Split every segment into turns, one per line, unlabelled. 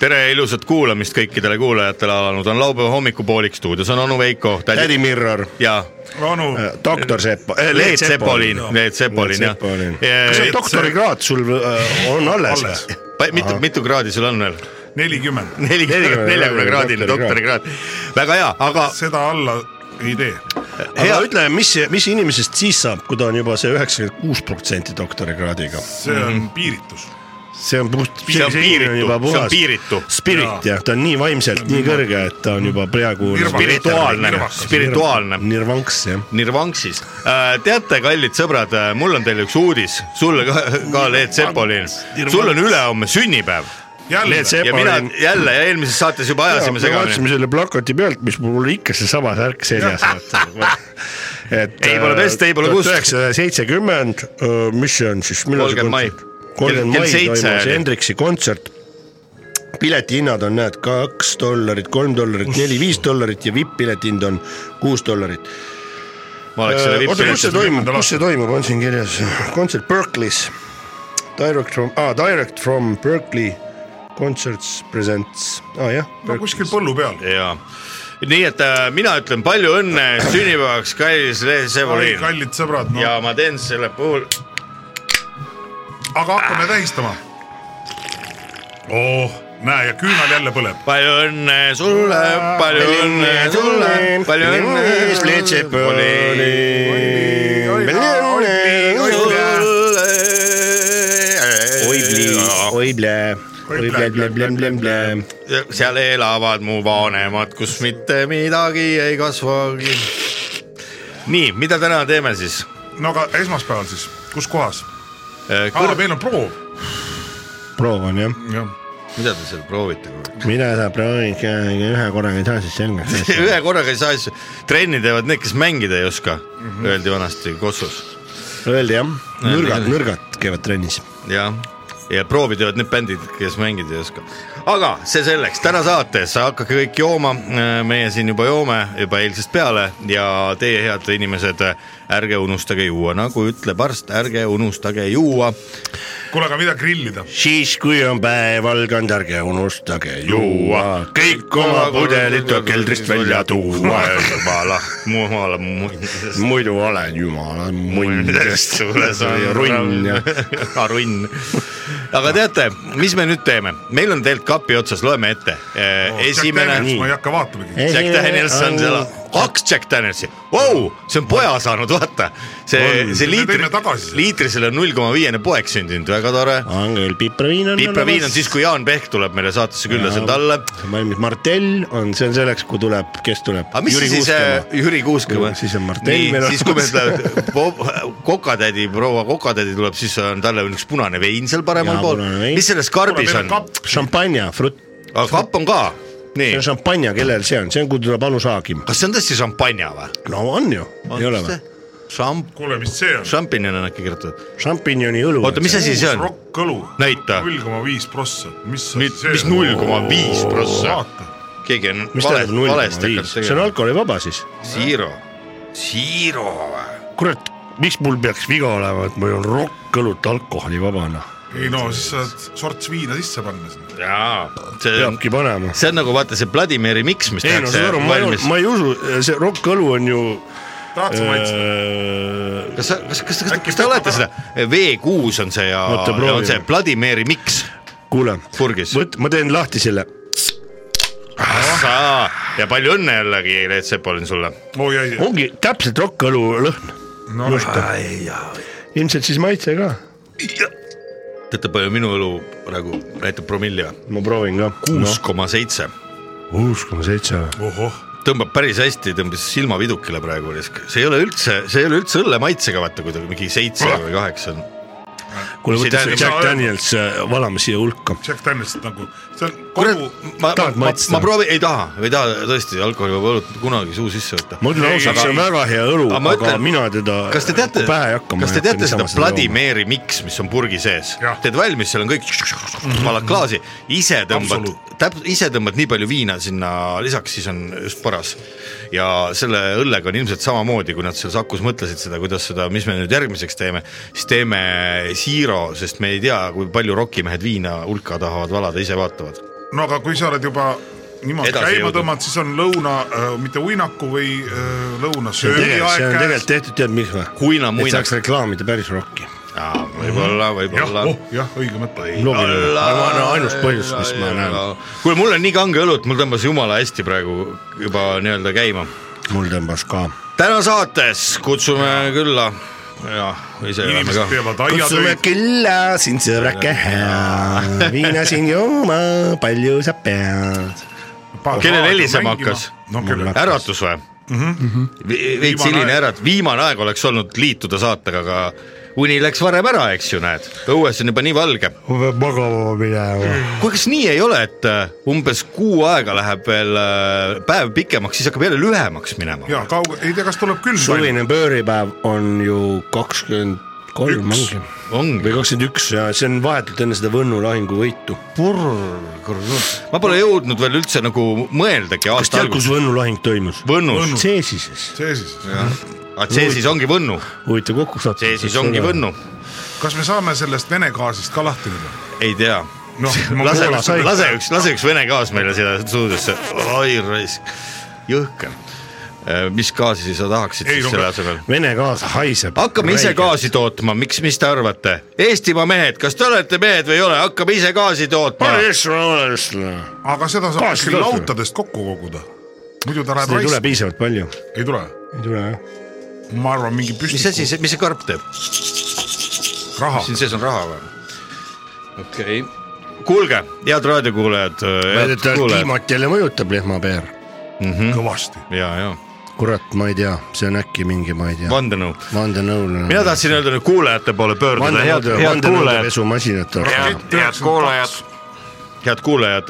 tere ja ilusat kuulamist kõikidele kuulajatele alanud on laupäeva hommikupoolik, stuudios on onu Veiko Tädi-
Tädi Eh, Mirror ,
ja
onu ,
Äh,
doktor äh, Sepo ,
Leet Sepolin , Leet Sepolin jah . Eh,
kas see doktorikraad sul äh, on alles
Alles. ?
mitu , mitu kraadi sul on veel ?
nelikümmend ,
nelikümmend , neljakümne kraadine doktorikraad , väga hea , aga
seda alla ei tee .
aga ütle , mis , mis inimesest siis saab , kui ta on juba see üheksakümmend kuus protsenti doktorikraadiga ?
see
Mhm.
on piiritus .
see on puht ,
See on piiritu, see on piiritu.
Spirit jah , ta on nii vaimselt nii Mm. kõrge , et ta on juba praegu
Nirvana.
spirituaalne ,
Nirvakas.
spirituaalne .
nirvanks jah .
Nirvanksis , teate , kallid sõbrad , mul on teile üks uudis , sulle ka , ka Leet Sepolin , sul on ülehomme sünnipäv
jälle
Need see-
ja mina jälle ja eelmises saates juba ajasime
me
segamini .
vaatasime selle plakati pealt , mis mul ikka seesama särk seljas , vaata . et
Ei pole pesta, ei pole kust.
üheksasada seitsekümmend , mis see on siis , millal see
30 mai.
kontsert ? kolmkümmend
Kell- kell
mai
seitse
toimus
oli.
Hendriksi kontsert . piletihinnad on , näed , kaks dollarit , kolm dollarit , neli-viis dollarit ja vipp-pileti hind on kuus dollarit .
ma oleks selle
Äh, oota , kus see
vippi .
toimub , kus see toimub , on siin kirjas , kontsert Berkeley's . Direct from ah, , Direct from Berkeley Concerts Presents ah, , jah ,
no kuskil põllu peal .
jaa , nii et äh, mina ütlen palju õnne sünnipäevaks , kallis Leet Sepolin
kallid sõbrad , no
ja ma teen selle puhul
aga hakkame tähistama . oh , näe ja küünal jälle põleb .
palju õnne sulle , palju õnne sulle , palju õnne .
oible , oible .
seal elavad mu vanemad , kus mitte midagi ei kasvagi . nii , mida täna teeme siis ?
no aga esmaspäeval siis , kus kohas ? aa ,
Kõr...
meil on proov .
proov on jah ,
jah ,
mida te seal proovite ?
mine sa proovi ikka ühe korraga ei saa siis selgeks .
ühe korraga ei saa asju , trenni teevad need , kes mängida ei oska mm , -hmm. öeldi vanasti Kossus .
Öeldi jah , nõrgad , nõrgad käivad trennis .
jah , ja proovi teevad need bändid , kes mängida ei oska . aga see selleks , täna saates hakake kõik jooma , meie siin juba joome juba eilsest peale ja teie , head inimesed , ärge unustage juua , nagu ütleb arst , ärge unustage juua .
kuule , aga mida grillida ?
siis , kui on päev alganud , ärge unustage juua , kõik oma pudelid tuleb keldrist välja tuua .
jumala , jumala muinses .
muidu olen jumala mundist . runn ja .
runn . aga teate , mis me nüüd teeme , meil on tegelikult kapi otsas , loeme ette . esimene
Oh, ma ei hakka vaatamagi .
Jack Daniels on seal , kaks Jack Danielsi wow, , see on poja saanud , vaata . see , see
Me
liitri
tõime tagasi selle. ,
liitrisele on null koma viiene poeg sündinud , väga tore .
on küll , pipraviin on .
pipraviin on siis , kui Jaan Pehk tuleb meile saatesse külla , see on talle .
valmis martell on , see on selleks , kui tuleb , kes tuleb .
aga mis Jüri siis äh, , Jüri Kuuskemaa .
Siis on Martell meil
siis kui meil
olemas.
tuleb po- kokatädi , proua kokatädi tuleb , siis on talle üks punane vein seal paremal
Jaa,
pool
punane vein. .
mis selles
kuule ,
karbis
meil on
on ?
kapp .
šampanja , frut- ,
kapp on ka ,
see
nii
on . šampanja , kellel see on , see on , kui tuleb Anu Saagim .
kas see on tõesti šampanja või ?
no on ju , ei ole või ??
šamp- ,
kuule , mis see on ?
šampinjon on äkki kirjutatud .
šampinjoni õlu .
oota , mis asi see on ?
rokkõlu .
Näita.
null koma viis prossa . mis
Mi-
asi see
mis
on ?
null koma viis prossa ?
vaata ,
keegi on
mis
vale,
tähendab null
valesti
koma
hakanud
viis , see on
tegema .
alkoholivaba siis .
Zero , zero või ?
kurat , miks mul peaks viga olema , et mul on rokkõlut alkoholivabana ?
ei no siis sa saad sorts viina sisse panna sinna .
jaa , see on ,
peabki panema .
see on nagu vaata see Vladimiri miks , mis
ei no
tehakse
saad aru , ma ei
valmis ,.
ma ei usu , see rokkõlu on ju . äh,
tahad sa maitsta ?
kas sa , kas , kas , kas , kas te olete seda , V6 on see ja
Oota,
ja on
proovime.
see Vladimiri miks
kuule ,
purgis .
vot ma teen lahti selle ,
ja palju õnne jällegi , Leet Sepolin sulle .
Äh,
oi , ei ,
ongi täpselt rokkõlu lõhn .
no
ilmselt siis maitse ka .
teate , palju minu õlu praegu näitab promilli või ?
ma proovin ka .
kuus koma seitse .
kuus koma seitse või ?
ohoh ,
tõmbab päris hästi , tõmbas silma vidukile praegu , see ei ole üldse , see ei ole üldse õlle maitsega , vaata kuidagi mingi seitse või kaheksa on .
kuule ,
See
võta see
tähendab-
Jack Daniels , valame siia hulka .
Jack Danielsit nagu , see on
kurat
kogu ,,
ma , ma
Tahad ,
ma,
maitsta?
ma proovi , ei taha , ei taha tõesti alkoholivaba õlut kunagi suu sisse võtta .
ma ütlen ausalt , see on väga hea õlu ,
Aga ma
aga
ütlen-
mina teda
kas te teate ,
pähe ei hakka .
kas te teate seda Vladimiri miks , mis on purgi sees
Jah. ? Mhm.
teed valmis , seal on kõik , valad klaasi , ise tõmbad , täp- , ise tõmbad nii palju viina sinna lisaks , siis on just paras . ja selle õllega on ilmselt samamoodi , kui nad seal Sakus mõtlesid seda , kuidas seda , mis me nüüd järgmiseks teeme , siis teeme Zero , sest me ei tea , kui palju rokimehed viina hulka tahavad valada , ise vaatavad .
no aga kui sa oled juba niimoodi
Edasi
käima
jõudnud.
tõmmanud , siis on lõuna , mitte uinaku või äh,
see on
lõunasöögi
tegelikult , see
aeg
on
käes
tegelikult . tehtud , tead miks või ?
Kuina-muina.
et saaks reklaamida päris rokki .
võib-olla ,
Mhm. jah oh,
võib-olla ,.
jah , õige mõte .
logiline , ma arvan , ainus põhjus , mis ma näen ,
kuule , mul on nii kange õlut , mul tõmbas jumala hästi praegu juba nii-öelda käima .
mul tõmbas ka .
täna saates kutsume külla ja ise oleme
inimesed
ka .
teevad
kutsume
aiatöid ,
külla sind sõbrake hea , viina siin jooma , palju sa pead .
kellel helisema hakkas ?
no kellel ,
äratus või mm
Mhm.
-hmm. ? veits
Viimane
hiline
aeg.
äratus , viimane aeg oleks olnud liituda saatega , aga uni läks varem ära , eks ju , näed , õues on juba nii valge .
ma pean magama minema .
kuule , kas nii ei ole , et äh, umbes kuu aega läheb veel äh, päev pikemaks , siis hakkab jälle lühemaks minema ?
ja kauge , ei tea , kas tuleb külm .
suvine pööripäev on ju kakskümmend kolm
Üks.
ongi
ongi ,
või kakskümmend üks ja see on vahetult enne seda Võnnu lahinguvõitu .
ma pole jõudnud veel üldse nagu mõeldagi
kas
aasta
tead , kus
alguses .
Võnnu lahing toimus ?
Võnnus ,
Cesises ,
see siis ,
aga see siis Ah, ongi Võnnu ,
huvitav kokku sattuda .
see siis ongi . Võnnu ,
kas me saame sellest Vene gaasist ka lahti nüüd ?
ei tea
noh , ma
lase ,
Poola sai.
lase üks , lase üks vene gaas meile siia stuudiosse , oi raisk , jõhker . mis gaasi siis sa tahaksid
Ei,
siis
no
selle
ka-
asemel ?
Vene gaas haiseb .
hakkame ise . gaasi tootma , miks , mis te arvate ? Eestimaa mehed , kas te olete mehed või ei ole , hakkame ise gaasi tootma .
aga seda
Gaasi
saab kuskil
tuleb.
lautadest kokku koguda . muidu ta läheb
ei tule
raisku ,
piisavalt palju .
ei tule .
ei tule jah .
ma arvan , mingi
mis asi
püstikukraha
see , mis see karp teeb ? siin sees on raha või ? okei okay. kuulge , head raadiokuulajad , head
väidetavalt
kuulajad
kliimat jälle mõjutab lehmapeer .
kõvasti .
ja , ja
kurat , ma ei tea , see on äkki mingi , ma ei tea .
vandenõu .
vandenõulane .
mina tahtsin öelda nüüd kuulajate poole pöörduda , head , head kuulajad .
vandenõudepesumasinat .
head kuulajad. .
head kuulajad ,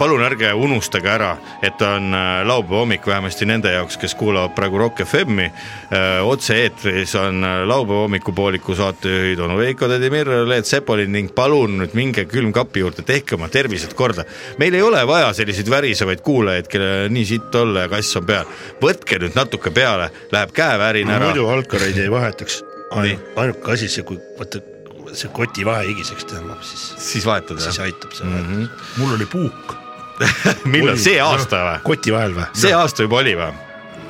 palun ärge unustage ära , et on äh, laupäeva hommik vähemasti nende jaoks , kes kuulavad praegu Rock FM-i . otse-eetris on äh, laupäeva hommikupooliku saatejuhid onu Veiko Tõdimir , Leet Sepolin ning palun nüüd minge külmkapi juurde , tehke oma tervised korda . meil ei ole vaja selliseid värisevaid kuulajaid , kellel on nii sitt olla ja kass on peal . võtke nüüd natuke peale , läheb käevärin ära .
muidu alkareid ei vahetaks .
Nii.
ainuke asi , see , kui vaata see koti vahehigiseks tõmbab , siis ,
siis vahetad
siis
jah ?
aitab see mm .
Mhm.
-hmm.
mul oli puuk .
millal , see aasta või ?
koti vahel või ?
see aasta juba oli või ?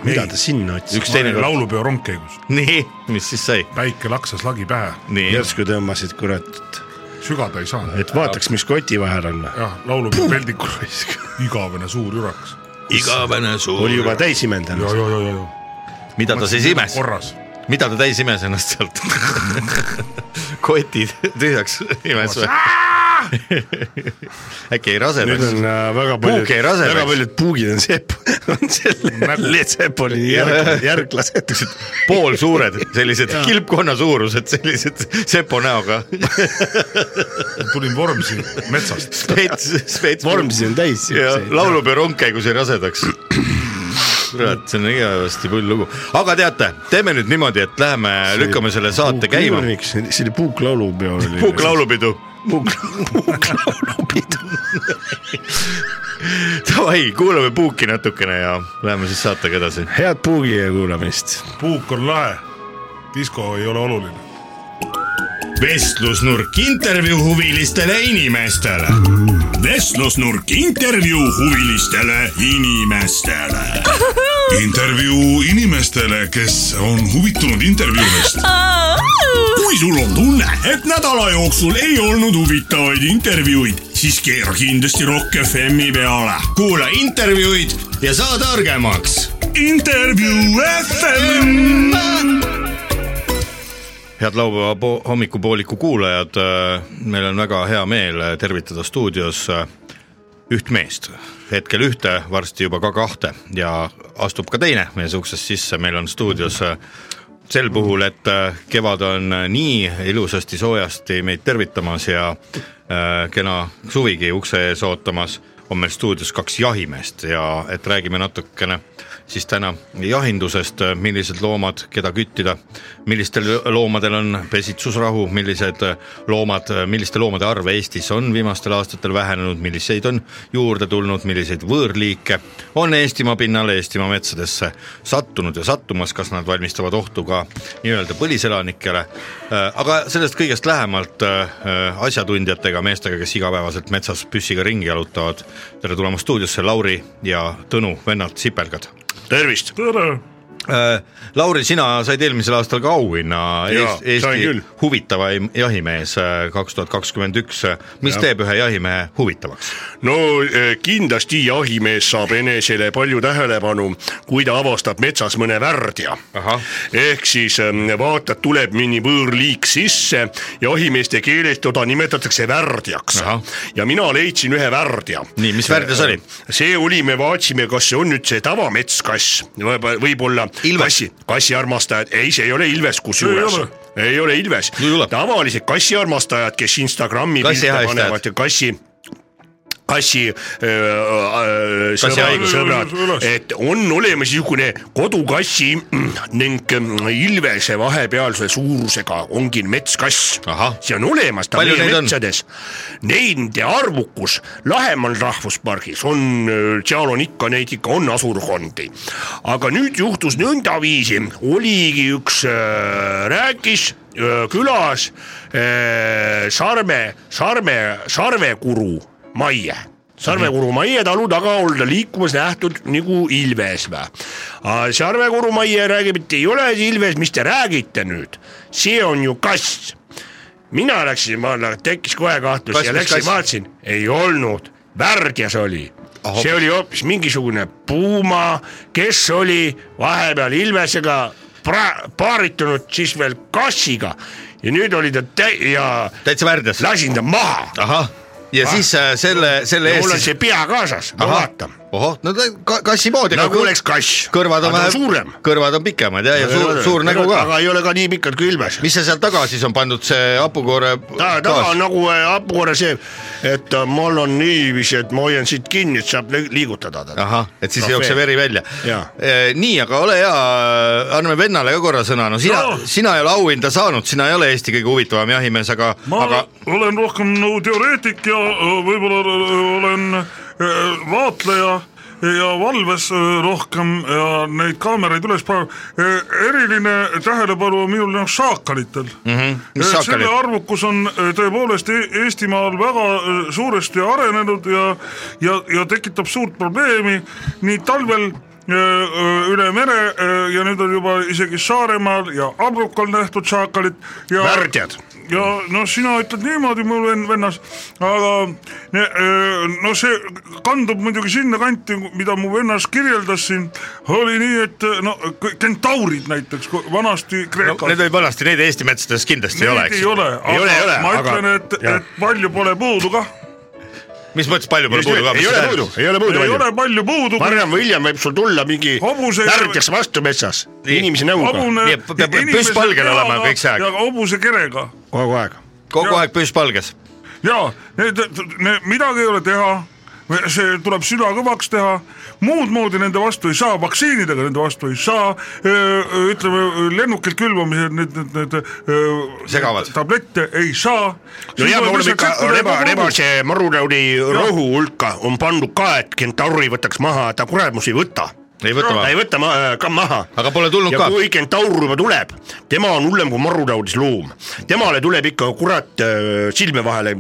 mida ta sinna
üks
otsis ?
teine kord .
laulupeo rongkäigus ,
nii , mis siis sai ?
päike laksas lagi pähe ,
nii .
järsku tõmbasid kurat ,
sügada ei saanud .
et vaataks , mis koti vahel on .
jah , laulupeo peldikul raisk , igavene suur ürakas .
igavene suur .
oli juba täis imendanud .
ja , ja , ja , ja ,
mida ta siis imes ,
korras .
mida ta täis imes ennast sealt ? kotid tühjaks imes või ?
Ah!
äkki ei
nüüd
rasedaks ?
on äh, väga
Puuk
paljud ,
jäi rasedaks.
väga paljud puugid on sepp , on selle Leet Sepoli järg, järglased .
poolsuured , sellised kilpkonna suurused , sellised sepo näoga .
tulin Vormsi metsast ,
spets , spets .
Vormsi on täis .
ja laulupeo rongkäigus jäi rasedaks . kurat , see on igavesti pull lugu , aga teate , teeme nüüd niimoodi , et läheme , lükkame selle saate käima .
see oli Puuk laulupeo .
puuk . laulupidu
Puuk , Puuk laulupidu .
davai , kuulame Puuki natukene ja läheme siis saatega edasi .
head Puugi kuulamist .
puuk on lahe , disko ei ole oluline .
vestlusnurk intervjuu huvilistele inimestele . vestlusnurk intervjuu huvilistele inimestele .
intervjuu inimestele , kes on huvitunud intervjuudest .
kui sul on tunne , et nädala jooksul ei olnud huvitavaid intervjuuid , siis keera kindlasti Rock FM-i peale . kuula intervjuud ja saa targemaks . intervjuu FM .
head laupäeva po- hommikupooliku kuulajad , meil on väga hea meel äh, tervitada stuudios äh, üht meest , hetkel ühte , varsti juba ka kahte ja astub ka teine mees uksest sisse , meil on stuudios äh, sel puhul , et äh, kevad on äh, nii ilusasti soojasti meid tervitamas ja äh, kena suvigi ukse ees ootamas , on meil stuudios kaks jahimeest ja et räägime natukene siis täna jahindusest, millised loomad, keda küttida, millistel loomadel on pesitsusrahu, millised loomad, milliste loomade arv Eestis on viimastel aastatel vähenenud, milliseid on juurde tulnud, milliseid võõrliike on Eestimaa pinnale, Eestimaa metsadesse sattunud ja sattumas, kas nad valmistavad ohtu ka nii-öelda põliselanikele. Äh, aga sellest kõigest lähemalt äh, asjatundjatega, meestega, kes igapäevaselt metsas püssiga ringi jalutavad. tere tulemast stuudiosse, Lauri ja Tõnu, vennad sipelgad Äh,
tervist.
tere.
Lauri, sina said eelmisel aastal ka auhinna
Jaa, sain
Eesti
küll.
huvitavaim jahimees äh, kaks tuhat kakskümmend üks. äh, mis
Jah.
teeb ühe jahimehe huvitavaks?
no eh, kindlasti jahimees saab enesele palju tähelepanu , kui ta avastab metsas mõne värdja .
Ahah.
ehk siis em, vaata , tuleb mõni võõrliik sisse , jahimeeste keeles teda nimetatakse värdjaks
Ahah. .
ja mina leidsin ühe värdja .
Nii, mis värdja see oli?
see oli , me vaatasime , kas see on nüüd see tavametskass , võib-olla
Ilves.
kassi , kassiarmastajad , ei , see ei ole Ilves kusjuures
Ei ole.
ei ole Ilves
No ei ole. ,
tavalised kassiarmastajad , kes Instagrami
Kassi
pilte
haistajad.
panevad ja kassi , kassi äh, äh, sõbrad ,
haigus.
sõbrad , et on olemas niisugune kodukassi mm, ning mm, Ilvese vahepealse suurusega ongi metskass
Ahah. .
see on olemas , ta on
Palju
meie
neid on?
metsades . Neid arvukus Lahemal rahvuspargis on , seal on ikka neid ikka on asurkondi . aga nüüd juhtus nõndaviisi , oligi üks äh, rääkis äh, külas äh, Sarme , Sarme , Sarvekuru Maie . Sarvekuru
Mhm.
Maie talu taga olla liikumas nähtud nagu Ilves või . Sarvekuru Maie räägib , et ei ole Ilves , mis te räägite nüüd , see on ju kass mina läksin , ma arvan , tekkis kohe kahtlus
Kas-
ja
mis
läksin
kass?
vaatasin , ei olnud , värdjas oli .
Ahah.
see oli hoopis mingisugune puuma , kes oli vahepeal Ilvesega pra- , paaritunud siis veel kassiga ja nüüd oli ta tä- ja
täitsa värdjas ?
lasin ta maha .
ahah , ja siis äh, selle , selle
Ah. mul
eest
on
siis
see pea kaasas , ma
Ahah.
vaatan ,
ohoh , no ta- ka- kassi moodi .
nagu oleks kass .
kõrvad on vähe
suurem .
kõrvad on pikemad ja , ja suur , suur nägu ka .
aga ei ole ka nii pikalt kui Ilves .
mis sa seal taga siis on pandud , see hapukoore ?
ta , taga on nagu äh, hapukoore see , et äh, mul on niiviisi , et ma hoian siit kinni , et saab li- liigutada teda .
ahah , et siis ei
Trofee.
jookse veri välja Äh,
Jaa. .
nii , aga ole hea , anname vennale ka korra sõna , no sina no.
No. ,
sina ei ole auhinda saanud , sina ei ole Eesti kõige huvitavam jahimees , aga ,
ma
aga
aga... olen rohkem nagu teoreetik ja öö, võib-olla öö, olen öö, Äh, vaatleja ja valves öö, rohkem ja neid kaameraid üles paneb . eriline tähelepanu on minul noh šaakalitel mm . -hmm.
Mhm. Mis šaakalid?
selle arvukus on öö, tõepoolest E- Eestimaal väga öö, suuresti arenenud ja , ja , ja tekitab suurt probleemi nii talvel öö, öö, üle mere öö, ja nüüd on juba isegi Saaremaal ja Abrukal nähtud šaakalit ja
värdjad .
ja no sina ütled niimoodi , mul ven- vennas , aga ne- öö, no see kandub muidugi sinnakanti , mida mu vennas kirjeldas siin , oli nii , et no k- kentaurid näiteks , vanasti
no,
Kreekas
need olid vanasti , neid Eesti metsades kindlasti ei ole ,
Neid
eks
ei ole ,
Ei ole, ei ole,
aga ma
aga-
ütlen , et ,
jah.
et palju pole puudu kah ,
ju . mis mõttes palju pole puudu ka ?
ei ole puudu , ei ole puudu
ei ole
palju .
palju puudu ,
varem või hiljem võib sul tulla mingi
Hobuse-
värdjaks vastu metsas , inimese näoga
hobune
Nii, et peab- peab püss palgel olema kõik see aeg.
ja hobuse kerega
kogu aeg .
kogu
Jah.
aeg püss palges .
ja need, need , midagi ei ole teha , see tuleb süda kõvaks teha , muud moodi nende vastu ei saa , vaktsiinidega nende vastu ei saa , ütleme lennukilt külvamised , need , need , need
Segavad.
tablette ei saa .
no ja me oleme ikka reba , rebase marunõudi rohu hulka on pandud ka , et kentauri võtaks maha , ta kuramus ei võta .
ei võta
ta
maha ,
ei võta ma, ka maha .
aga pole tulnud
ja
ka .
kui kentaur juba tuleb , tema on hullem kui marutaudis loom , temale tuleb ikka kurat äh, silme vahele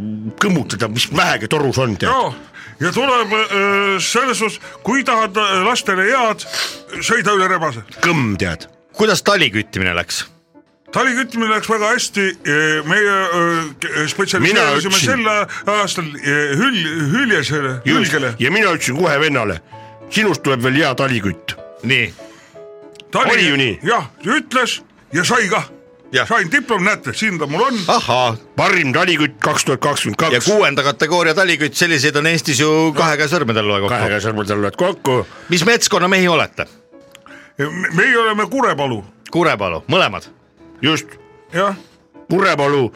kõmmutada , mis vähegi torus on tead .
ja , ja tuleb öö, selles suhtes , kui tahad öö, lastele head , sõida üle rebase .
kõmm tead .
kuidas tali küttimine läks ?
talikütmine läks väga hästi , meie öö, k-
Mina
spetsialiseerusime
ütlesin.
sel aastal öö, hül- , hüljesele , hülgele .
ja mina ütlesin kohe vennale , sinust tuleb veel hea talikütt .
nii ,
Oli ju nii?
jah , ütles ja sai kah
Jah. .
sain diplomi , näete , siin ta mul on .
Ah.
ahhaa ,
parim talikütt kaks tuhat kakskümmend
ja
kaks .
kuuenda kategooria talikütt , selliseid on Eestis ju kahe käe sõrmedel loe
kahe
kokku .
käe sõrmedel oled kokku .
mis metskonna mehi olete ?
meie oleme Kurepalu ,
Kurepalu , mõlemad ?
just ,
jah ,
Kurepalu ,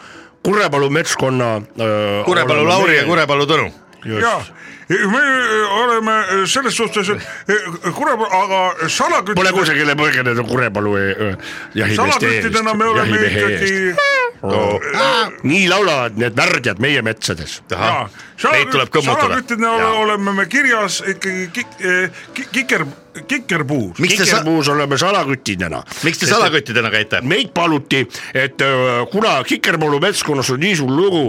Kurepalu metskonna äh, .
Kurepalu Lauri ja . Kurepalu Tõnu .
ja me äh, oleme selles suhtes , et Kurepaa , aga salakütt- .
Pole kusagile põgeneda Kurepalu öö, äh, jahimeeste eest ,
salaküttidena me oleme
jahimehe
ikkagi
eest . nii laulavad need värdjad meie metsades .
ahah , neid tuleb kõmmutada .
salaküttidena
Jaa.
oleme me kirjas ikkagi kik- , ki- kiker , kikerpuur .
miks te sa- ,
kikerpuus oleme salakütidena .
miks te ? salakottidena käite ?
meid paluti , et öö, kuna Kikerpalu metskonnas on nii suur lugu ,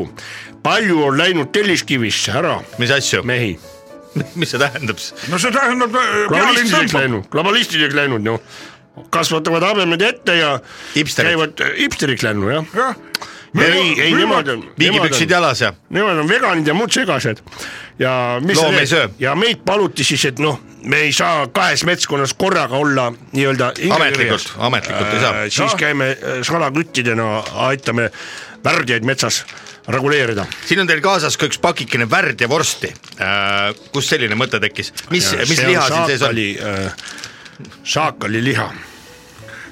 palju on läinud Telliskivisse ära
mis asju ,
mehi .
mis see tähendab siis ?
no see tähendab , pealinn
globalistideks
tõmbab .
läinud , globalistideks läinud noh , kasvatavad habemed ette ja
Hipsterid.
käivad äh, hipsteriks läinud jah .
jah ,
ei , ei nemad on ,
viigipüksid jalas ja
nemad on veganid ja muud segased ja mis
Loomi ei söö.
ja meid paluti siis , et noh , me ei saa kahes metskonnas korraga olla nii-öelda
ametlikult , ametlikult ei saa Noh.
äh, . siis käime äh, salaküttidena , aitame värdjaid metsas reguleerida .
siin on teil kaasas ka üks pakikene värdjavorsti . kust Äh, selline mõte tekkis , mis ,
Äh,
mis liha siin sees on ?
saakali liha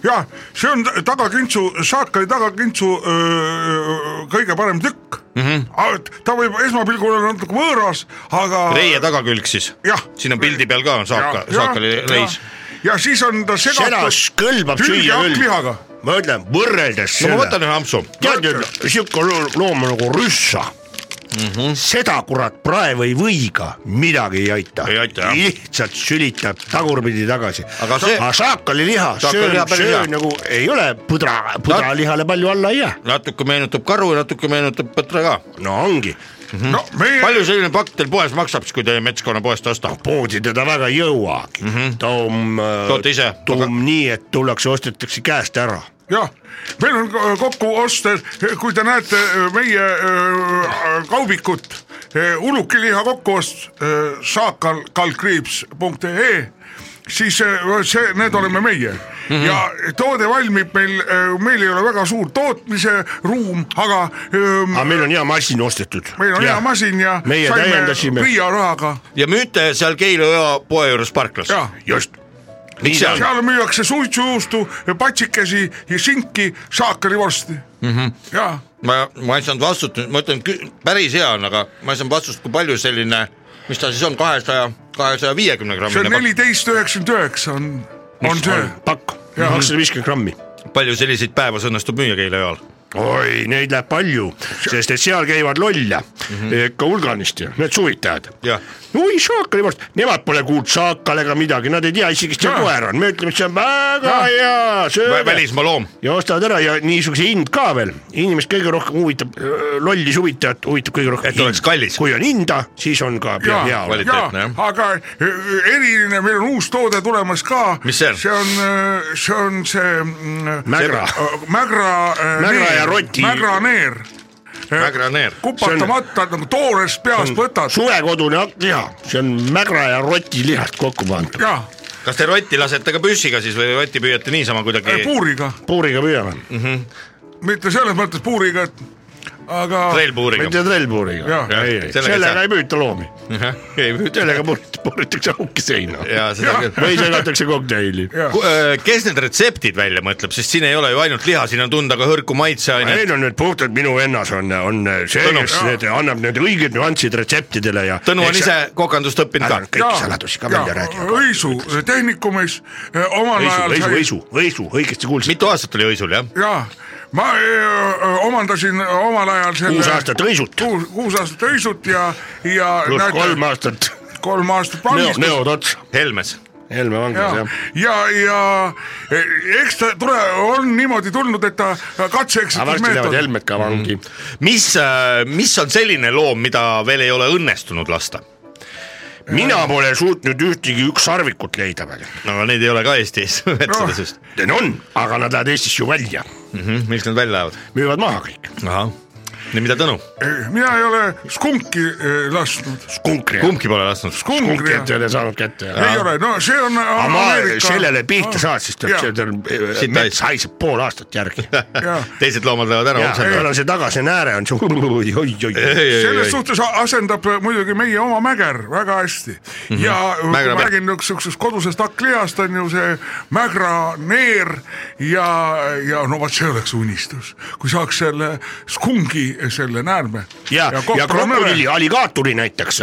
jah , see on ta- tagakintsu , saakali tagakintsu öö, kõige parem tükk mm .
Mhm.
-hmm. ta võib esmapilgul olla natuke võõras , aga .
reie tagakülg siis
Jah. ?
siin on pildi peal ka on saaka , saakali reis ..
ja siis on ta
Noh,
seda
segatud
kõlbab
hülge
süüa küll
hakklihaga .
ma ütlen , võrreldes
no ma
selle ,
võtan ühe ampsu .
tead ju , sihuke loo- loom nagu rüssa mm .
Mhm.
-hmm. seda kurat praegu ei võiga , midagi ei aita .
Ei aita, jah.
lihtsalt sülitab tagurpidi tagasi .
Aga see-
saakali liha ,
Saakali
söön
liha , päris hea.
söön nagu ei ole pudra , pudralihale palju alla ei jää .
natuke meenutab karu ja natuke meenutab põtra ka .
no ongi ,
no meie
palju selline pakk teil poes maksab siis , kui te metskonna poest ostate ?
poodi teda väga ei jõuagi mm . -hmm. toom ,
Mhm. Toote ise?
toom
Aga-
aga... nii , et tullakse , ostetakse käest ära .
jah , meil on ko- kokku osta , kui te näete öö, meie öö, kaubikut , ulukiliha kokkuost eh, saakal , kalkriips.ee , siis öö, see , need oleme meie
Mhm.
mm -hmm. ja toode valmib meil , meil ei ole väga suur tootmise ruum , aga öö,
aga meil on hea masin ostetud .
meil on hea masin ja
meie täiendasime.
Riia rahaga ,
ja müüte seal Keilu jõe poe juures parklas ?
jah .
just .
miks seal ?
seal müüakse suitsujuustu , patsikesi ja sinki , saakalivorsti mm .
Mhm.
-hmm. ja
ma , ma ei saanud vastust , ma ütlen , päris hea on , aga ma ei saanud vastust , kui palju selline , mis ta siis on , kahesaja , kahesaja viiekümne
see on
grammine pakk ,
neliteist üheksakümmend üheksa on , on see .
pakk , kakssada viiskümmend grammi
palju selliseid päevas õnnestub müüa Keila joal ?
oi , neid läheb palju , sest et seal käivad lolle
Mhm.
mm -hmm. ka hulganisti , need suvitajad
Jah. .
oi , saakali vorst , nemad pole kuulnud saakal ega midagi , nad ei tea isegi , kes seal
Jah.
koer on , me ütleme , et see on väga ja. hea , sööme
välismaa loom ,
ja ostavad ära ja niisuguse hind ka veel , inimest kõige rohkem huvitab , lolli suvitajat huvitab kõige rohkem .
Et oleks kallis.
kui on hinda , siis on ka
ja ,
hea
vali-
olema .
kvaliteetne,
ja
jah. ,
aga e, eriline , meil on uus toode tulemas ka .
Mis see on?
see on , see on see mm,
Mägra.
see- Mägra . e,
Mägra ja roti-
Mägraneer .
Mägraneer.
kupatamata nagu toorest peast võtad .
suvekodune hakkliha , see on mägra ja rotilihast kokku pandud ,
jah ,
kas te rotti lasete ka püssiga siis või rotti püüate niisama kuidagi
puuriga ,
puuriga püüame ,
mitte selles mõttes puuriga , et aga .
treilpuuriga ?
mitte trellpuuriga
Jah. ,
ei ,
Sellega ei
ei ,
saa.
sellega ei püüta loomi
ei püüta .
sellega purit- puritakse auki seina
ja seda küll .
või segatakse kokteili .
kes need retseptid välja mõtleb , sest siin ei ole ju ainult liha , siin on tunda ka hõrku maitseainet .
Need on need puhtalt minu vennas on , on see ,
Tõnu.
kes need annab need õiged nüansid retseptidele ja .
Tõnu on ise kokandust õppinud ka
ära . kõiki saladusi ka välja räägib .
Õisu tehnikumis eh, omal
õisu ,
ajal
õisu , õisu , õisu , õigesti kuulsid .
mitu aastat oli õisul jah ?
jaa , ma öö, öö, omandasin omal ajal selle
kuus aastat õisut ,
kuus , kuus aastat öisut ja , ja
pluss kolm aastat
kolm aastat
neo ,
vangistust
neod otsa ,
Helmes .
Helme vanglas
ja
jah ,.
ja , ja e- eks ta tule , on niimoodi tulnud , et ta
aga varsti lähevad
katse-eksitusmeetod ,
Helmed ka vangi .
Mm-hmm.
mis , mis on selline loom , mida veel ei ole õnnestunud lasta ?
mina pole suutnud ühtegi ükssarvikut leida veel .
aga neid ei ole ka Eestis metsades vist .
Need on , aga nad lähevad Eestist ju välja ,
Mhm, miks nad välja lähevad ?
müüvad maha kõik .
ahah , no mida Tõnu ?
E, mina ei ole skunki eh, lasknud ,
skunkri ,
kumbki pole lasknud .
skunkri
skunkrit ei
ei
ole saanud kätte .
ole , no see on
aga ma
Ameerika .
sellele pihta saad , siis tuleb
Jaa.
see tuleb ,
Siit
mets
täis.
haiseb pool aastat järgi .
Jah.
teised loomad lähevad ära ,
tal
oksendavad .
on see taganääre on see oi-oi-oi .
selles suhtes a- asendab äh, muidugi meie oma mäger väga hästi mm -hmm. ja
Mägra
Mägra ma
peal.
räägin niisugusest kodusest hakklihast on ju see mägraneer ja , ja no vot see oleks unistus , kui saaks selle skungi selle näärme .
ja , ja krokodilli , alligaatori näiteks .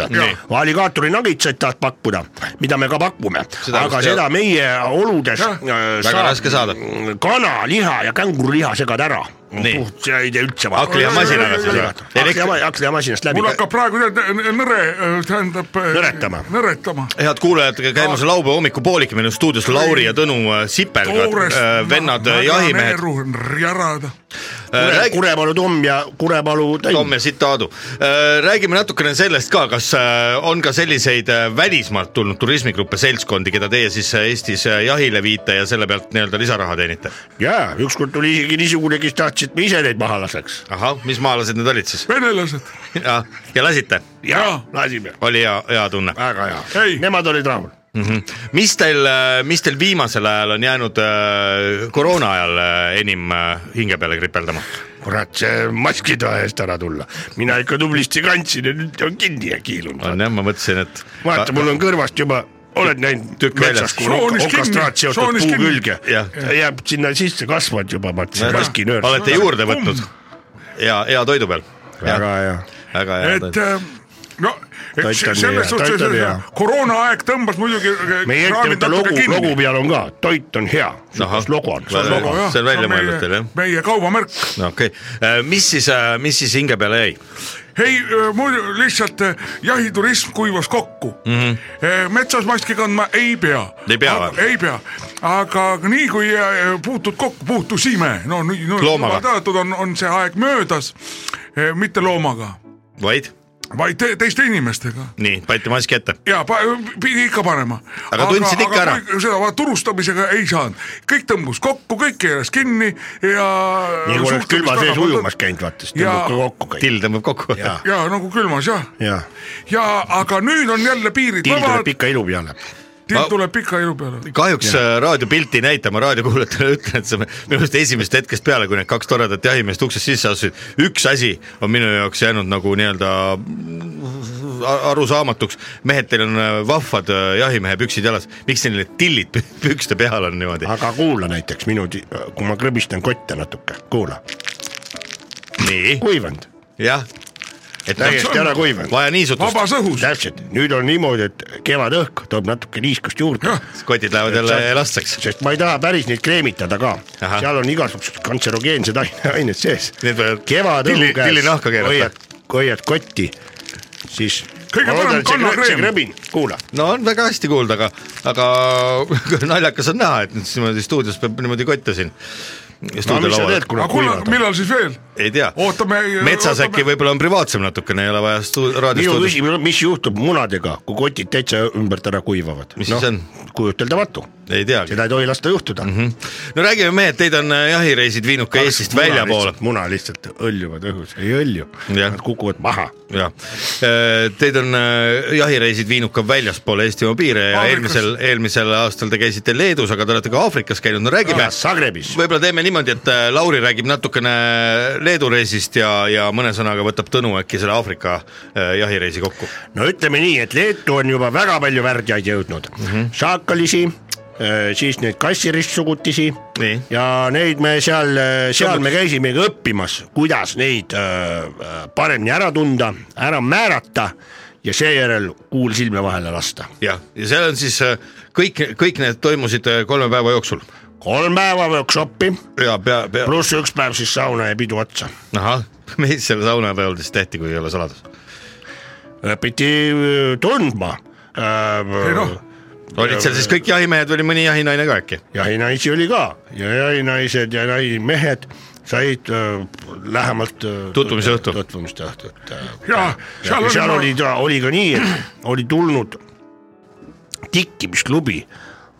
alligaatori nagitsaid tahad pakkuda , mida me ka pakume ,
Seda
aga
vist ei
seda meie oludes
Jah,
äh,
väga raske saada.
kanaliha ja känguruliha segad ära .
Nii.
see ei tee üldse
Hakli ja masinaga siis või ?
hakklihamasinast . hakklihamasinast läbi
mul . hakkab praegu tead nõ- nõre , tähendab .
Nõretama.
nõretama .
head kuulajad , käimas on laupäeva hommikupoolik , meil on stuudios Lauri ja Tõnu äh, sipelgad , vennad äh, jahimehed ,
järada .
räägi-
Äh, Kurepalu Tom ja Kurepalu
Tom
Tõnn .
ja siit Aadu . räägime natukene sellest ka , kas äh, on ka selliseid äh, välismaalt tulnud turismigruppe , seltskondi , keda teie siis äh, Eestis äh, jahile viite ja selle pealt nii-öelda lisaraha teenite ?
jaa , ükskord tuli isegi niisugune , kes tahtis , et me ise neid maha laseks .
ahah , mis maalased need olid siis ?
venelased ,
ja, ja lasite ,
jaa , lasime ,
oli hea , hea tunne .
väga hea
Ei. .
Nemad olid rahul .
mis teil , mis teil viimasel ajal on jäänud äh, koroona ajal äh, enim äh, hinge peale kripeldama ?
kurat , see mask ei taha eest ära tulla . mina ikka tublisti kandsin ja nüüd on kinni ja kiilunud .
on jah , ma mõtlesin , et
vaata , mul on kõrvast juba , oled näinud
Tükk
metsas ,
väljas.
kui on
Soonis
okastraat
kinni,
seotud
soonis
puu
kinni.
külge
Jah. .
jääb sinna sisse kasvanud juba , ma ütlesin , maskinöör .
olete juurde võtnud ja hea toidu peal .
väga hea .
väga hea
et
toit .
äh, no eks
Toit on hea,
selles
toit
suhtes
on hea.
koroonaaeg tõmbas muidugi . äh,
meie ettevõtte logo , logo peal on ka , toit on hea .
Ahah.
logo on .
See on logo.
jah,
see on välja mõeldud teil, jah?
meie kaubamärk .
no okei okay. , mis siis , mis siis hinge peale jäi ?
ei , äh, muidu lihtsalt eh, jahiturism kuivas kokku mm . -hmm. metsas maski kandma ei pea .
Mhm. Ei pea või?
ei pea , aga nii kui eh, puutud kokku , puutusime , no nüüd no,
Loomaga.
juba teatud on , on see aeg möödas , mitte loomaga ,
vaid ?
vaid te, teiste inimestega
nii , panite maski ette .
ja pa, pidi ikka panema .
Aga tundsid ikka ära?
seda va- turustamisega ei saanud , kõik tõmbus kokku , kõik keeras kinni ja .
nii kui Nagu oleks külma sees ujumas käinud , vaata , siis
Jaa.
tõmbab ka kokku kõik .
till tõmbab kokku .
Jaa.
ja nagu külmas jah ,
jah ,
ja aga nüüd on jälle piirid
till tuleb
vabad ,
ikka ilu peale .
Ma-
till tuleb pika ilu peale .
kahjuks äh, raadiopilti ei näita , ma raadiokuulajatele ütlen , et see on minu meelest esimesest hetkest peale , kui need kaks toredat jahimeest uksest sisse astusid , üks asi on minu jaoks jäänud nagu nii-öelda mm, a- arusaamatuks . mehed , teil on äh, vahvad äh, jahimehe püksid jalas , miks teil need tillid pü- pükste peal on niimoodi ?
aga kuula näiteks minu , kui ma krõbistan kotte natuke , kuula ,
nii ,
kuivanud ,
jah . et noh,
täiesti ära kuivanud ,
vaja niisutust ,
vabas õhus ,
täpselt , nüüd on niimoodi , et kevadõhk toob natuke niiskust juurde ,
Noh.
kotid lähevad jälle
Sa-
elastseks ,
sest ma ei taha päris neid kreemitada ka ,
Ahah.
seal on igasugused kantserogeensed aine- ained sees .
Need võivad
kevadõhu
tilli- tillinahka
käes
keerata.
hoiad , hoiad kotti , siis .
Kõige parem kannakreem.
kuula ,
no on väga hästi kuulda , aga , aga naljakas on näha , et nüüd siis niimoodi stuudios peab niimoodi kotte siin .
no mis sa teed , kui
aga
nad
kuule ,
kuivavad on ?
millal siis veel ?
ei tea ,
Ootame-
metsas
ootame-
äkki võib-olla on privaatsem natukene , ei ole vaja stu- ,
minu
raadiostuudios .
küsimus on , mis juhtub munadega , kui kotid täitsa ümbert ära kuivavad ?
Mis siis on? ?
kujuteldamatu ,
ei teagi .
seda ei tohi lasta juhtuda mm . -hmm.
no räägime mehed , teid on äh, jahireisid viinud ka Eestist väljapoole .
muna lihtsalt õljuvad õhus , ei õlju ,
Jah.
nad kukuvad maha .
jah , teid on äh, jahireisid viinud ka väljaspoole Eestimaa piire ja
Aafrikas.
eelmisel , eelmisel aastal te käisite Leedus , aga te olete ka Aafrikas käinud , no räägime
peas Zagrebis ,
võib-olla teeme niimoodi , et äh, Lauri räägib natukene Leedu reisist ja , ja mõne sõnaga võtab Tõnu äkki selle Aafrika äh, jahireisi kokku .
no ütleme nii , et Leetu on juba väga palju värdjaid jõudnud mm ,
Mhm.
-hmm. saakalisi , siis neid kassiristsugutusi
Nii.
ja neid me seal , seal me käisimegi õppimas , kuidas neid öö, paremini ära tunda , ära määrata ja seejärel kuul silme vahele lasta
jah , ja seal on siis äh, kõik , kõik need toimusid äh, kolme päeva jooksul
kolm päeva workshopi ,
ja pea , pea ,
pluss üks päev siis sauna ja pidu otsa .
ahah , mis seal saunapeol siis tehti , kui ei ole saladus ?
õpiti öö, tundma . äh,
ei noh ,
olid seal siis kõik jahimehed või oli mõni jahinaine ka äkki ?
jahinaisi oli ka ja jahinaised ja jahimehed said öö, lähemalt äh, öö,
Tutvumise õhtu.
tutvumiste õhtut .
Jaa, seal
äh, seal,
oli-
seal oli , oli ka nii , et oli tulnud tikkimisklubi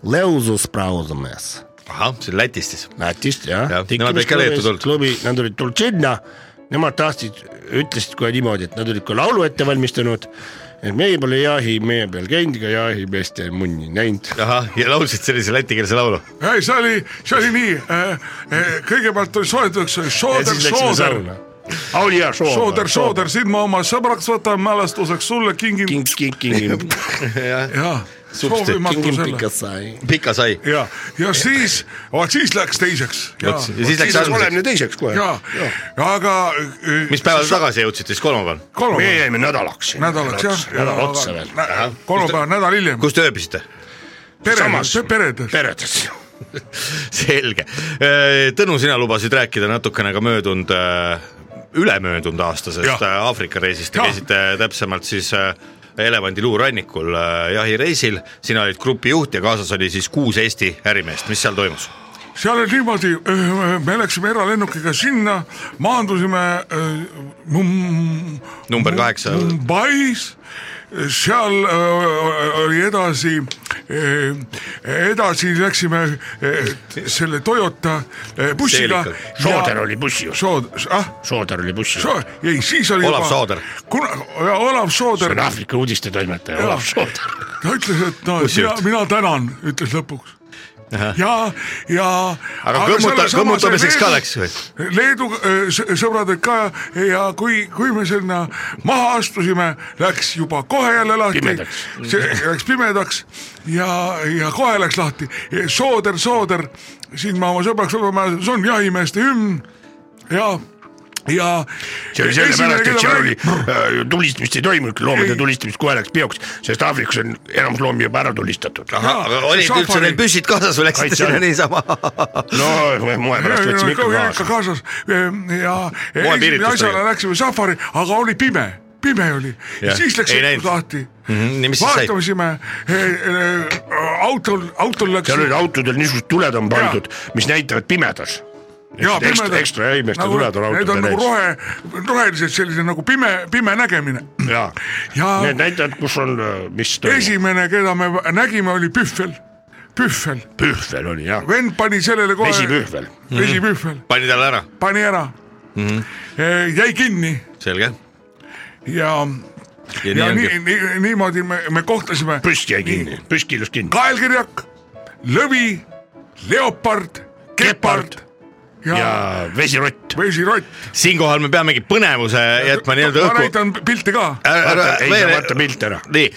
Leusus Brausemäes
ahah , see on Lätis siis .
Lätist jah
Jah,
ja, .
nemad ikka Leetu tulnud.
klubi , nad olid tulnud sinna , nemad tahtsid , ütlesid kohe niimoodi , et nad olid ka laulu ette valmistanud . et meie pole jahimehe peal käinud ega jahimeeste munni näinud .
ahah , ja laulsid sellise lätikeelse laulu .
ei see oli , see oli nii , äh, kõigepealt oli soetuseks
ja
Soder
siis läksime
Soder
sauna . oli hea Sooder .
Šooder , Šooder , sind ma oma sõbraks võtan , mälestuseks sulle kingin .
king , king , king ,
jaa ,
king ,
soovimatu selle .
pikad sai .
pika sai .
ja , ja siis , vaat siis läks teiseks .
ja siis läks
siis oleme
järgmiseks .
teiseks kohe .
ja , aga .
mis päeval tagasi jõudsite siis kolmapäeval ?
me
kolmapäev ,
jäime nädalaks siin .
nädalaks jah .
nädal otsa veel .
kolmapäev , nädal hiljem .
kus te ööbisite ?
peredes
samas- ,
peredes .
peredes .
selge . Tõnu , sina lubasid rääkida natukene ka möödunud , ülemöödunud aastasest
Jah.
äh, Aafrika reisist , te
Jah.
käisite täpsemalt siis äh, elevandiluurannikul äh, jahireisil , sina olid grupijuht ja kaasas oli siis kuus Eesti ärimeest , mis seal toimus ?
seal oli niimoodi , me läksime eralennukiga sinna , maandusime äh, Mum-
Number kaheksa.
Mm, Mumbais , seal äh, oli edasi , edasi läksime äh, selle Toyota äh, bussiga
Teelika. .
Sooder oli bussijuht ,
Sood- , ah ,
Sooder oli bussijuht .
Soo- , ei siis oli
Olav Sooder.
kuna , Olav
see
Sooder
on , Aafrika uudistetoimetaja Olav Sooder .
ta ütles , et no mina,
Bussijuht.
mina tänan , ütles lõpuks ja , ja .
aga, aga kõmmuta- , kõmmutamiseks ka läks või ?
Leedu äh, sõ- sõbrad olid ka ja kui , kui me sinna maha astusime , läks juba kohe jälle lahti .
Pimedaks.
Läks pimedaks ja , ja kohe läks lahti . Sooder , Sooder , siin ma oma sõbraks võtan , see on jahimeeste hümn ja , ja .
see oli sellepärast , et seal oli äh, tulistamist ei toimunud , loomade
Ei.
tulistamist kohe läks peoks , sest Aafrikas on enamus loomi juba ära tulistatud .
Jaa,
aga olid
safari.
üldse neil püssid kaasas või läksite
Kaitse
sinna
all.
niisama ?
no moe pärast võtsime ikka kaasa .
kaasas ja esimene
piiritlusega.
asjana läksime safari , aga oli pime , pime oli
Jah,
ja siis läks
ei
õhk
näinud.
lahti .
Mhm.
nii , mis siis sai ?
vaatamisime , autol , autol e, läks
seal olid autodel niisugused tuled on pandud , mis näitavad pimedas .
Jaa,
ekstra ,
pimedad.
ekstra jahimeeste
Nagu-
tuled on
Need
autodel
on nagu
ees .
rohe , rohelised sellised nagu pime , pime nägemine .
jaa ,
ja
need näitavad , kus on , mis toimub .
esimene , keda me nägime , oli Pühvel , Pühvel ,
pühvel oli jah ,
vend pani sellele kohe ,
vesipühvel .
vesipühvel ,
Mhm.
pani talle ära ,
pani ära Eh, jäi kinni
selge .
ja
ja nii
ja nii,
ongi .
nii, niimoodi me , me kohtasime
püst jäi kinni , püst killus kinni .
kaelkirjak , lõvi , leopard , kepard ja, ja.
ja vesirott .
vesirott .
siinkohal me peamegi põnevuse jätma nii-öelda
ma
õhku .
näitan pilti ka .
ei saa vaata pilte ära .
nii ,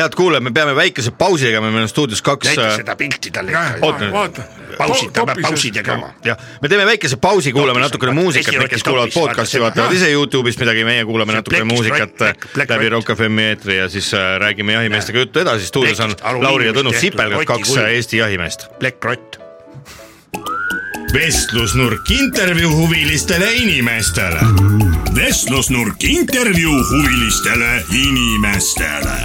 head kuulajad , me peame väikese pausi tegema , meil on stuudios kaks äh,
näita seda pilti talle .
Oota nüüd.
vaata .
pausid , ta peab pausid jagama .
jah , me teeme väikese pausi , kuulame
Topis on
natukene
vaata,
muusikat ,
vesiroti
need , kes kuulavad
topis, vaata
podcast'i ,
seda.
vaatavad ise Youtube'ist midagi , meie kuulame
See
natukene
plekist
muusikat äh,
rott, plek- plek-
läbi
rott.
Rock FM eetri ja siis äh, räägime jahimeestega juttu edasi , stuudios on
Plekist alumiiniumist
Lauri ja Tõnu
tehtud
Sipelgad , kaks
kotikujul.
äh, Eesti jahimeest .
plekkrott .
vestlusnurk intervjuu huvilistele inimestele .
vestlusnurk intervjuu huvilistele inimestele .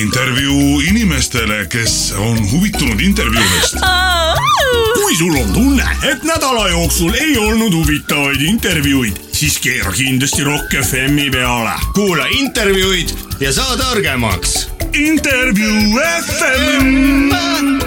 intervjuu inimestele , kes on huvitunud intervjuudest .
kui sul on tunne , et nädala jooksul ei olnud huvitavaid intervjuuid , siis keera kindlasti Rock FM-i peale . kuula intervjuud ja saa targemaks . intervjuu FM .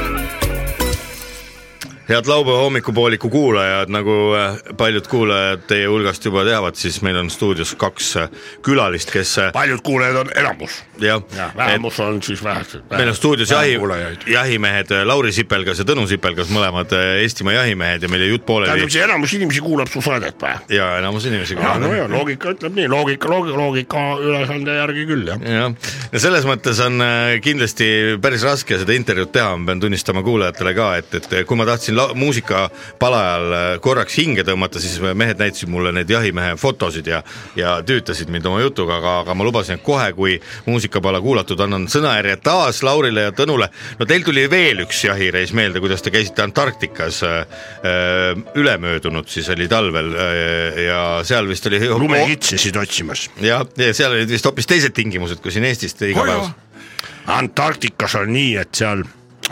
head laupäeva hommikupooliku kuulajad , nagu äh, paljud kuulajad teie hulgast juba teavad , siis meil on stuudios kaks äh, külalist , kes äh,
paljud kuulajad on enamus .
jah
jah ,
et-
vähemus on siis vähesed .
meil on stuudios jahi
kuulajaid .,
jahimehed äh, Lauri Sipelgas ja Tõnu Sipelgas , mõlemad äh, Eestimaa jahimehed ja meil jäi jutt pooleli
tähendab , see enamus inimesi kuulab su saadet või ?
ja enamus inimesi
ja , Ah, no
kuulavad
ja loogika ütleb nii , loogika , loogika , loogika ülesande järgi küll jah .
jah , ja selles mõttes on äh, kindlasti päris raske seda intervjuud teha , ma pean tunnistama kuulajatele ka , et , et kui ma tahtsin la- muusikapala ajal äh, korraks hinge tõmmata , siis mehed näitasid mulle neid jahimehe fotosid ja ja tüütasid mind oma jutuga , aga , aga ma lubasin , et kohe , kui muusikapala kuulatud , annan sõnajärje taas Laurile ja Tõnule . no teil tuli veel üks jahireis meelde , kuidas te käisite Antarktikas äh, äh, ülemöödunud , siis oli talvel äh, ja seal vist oli
lumekitsesid otsimas .
jah , ja seal olid vist hoopis teised tingimused , kui siin Eestis igapäevaselt .
Antarktikas on nii , et seal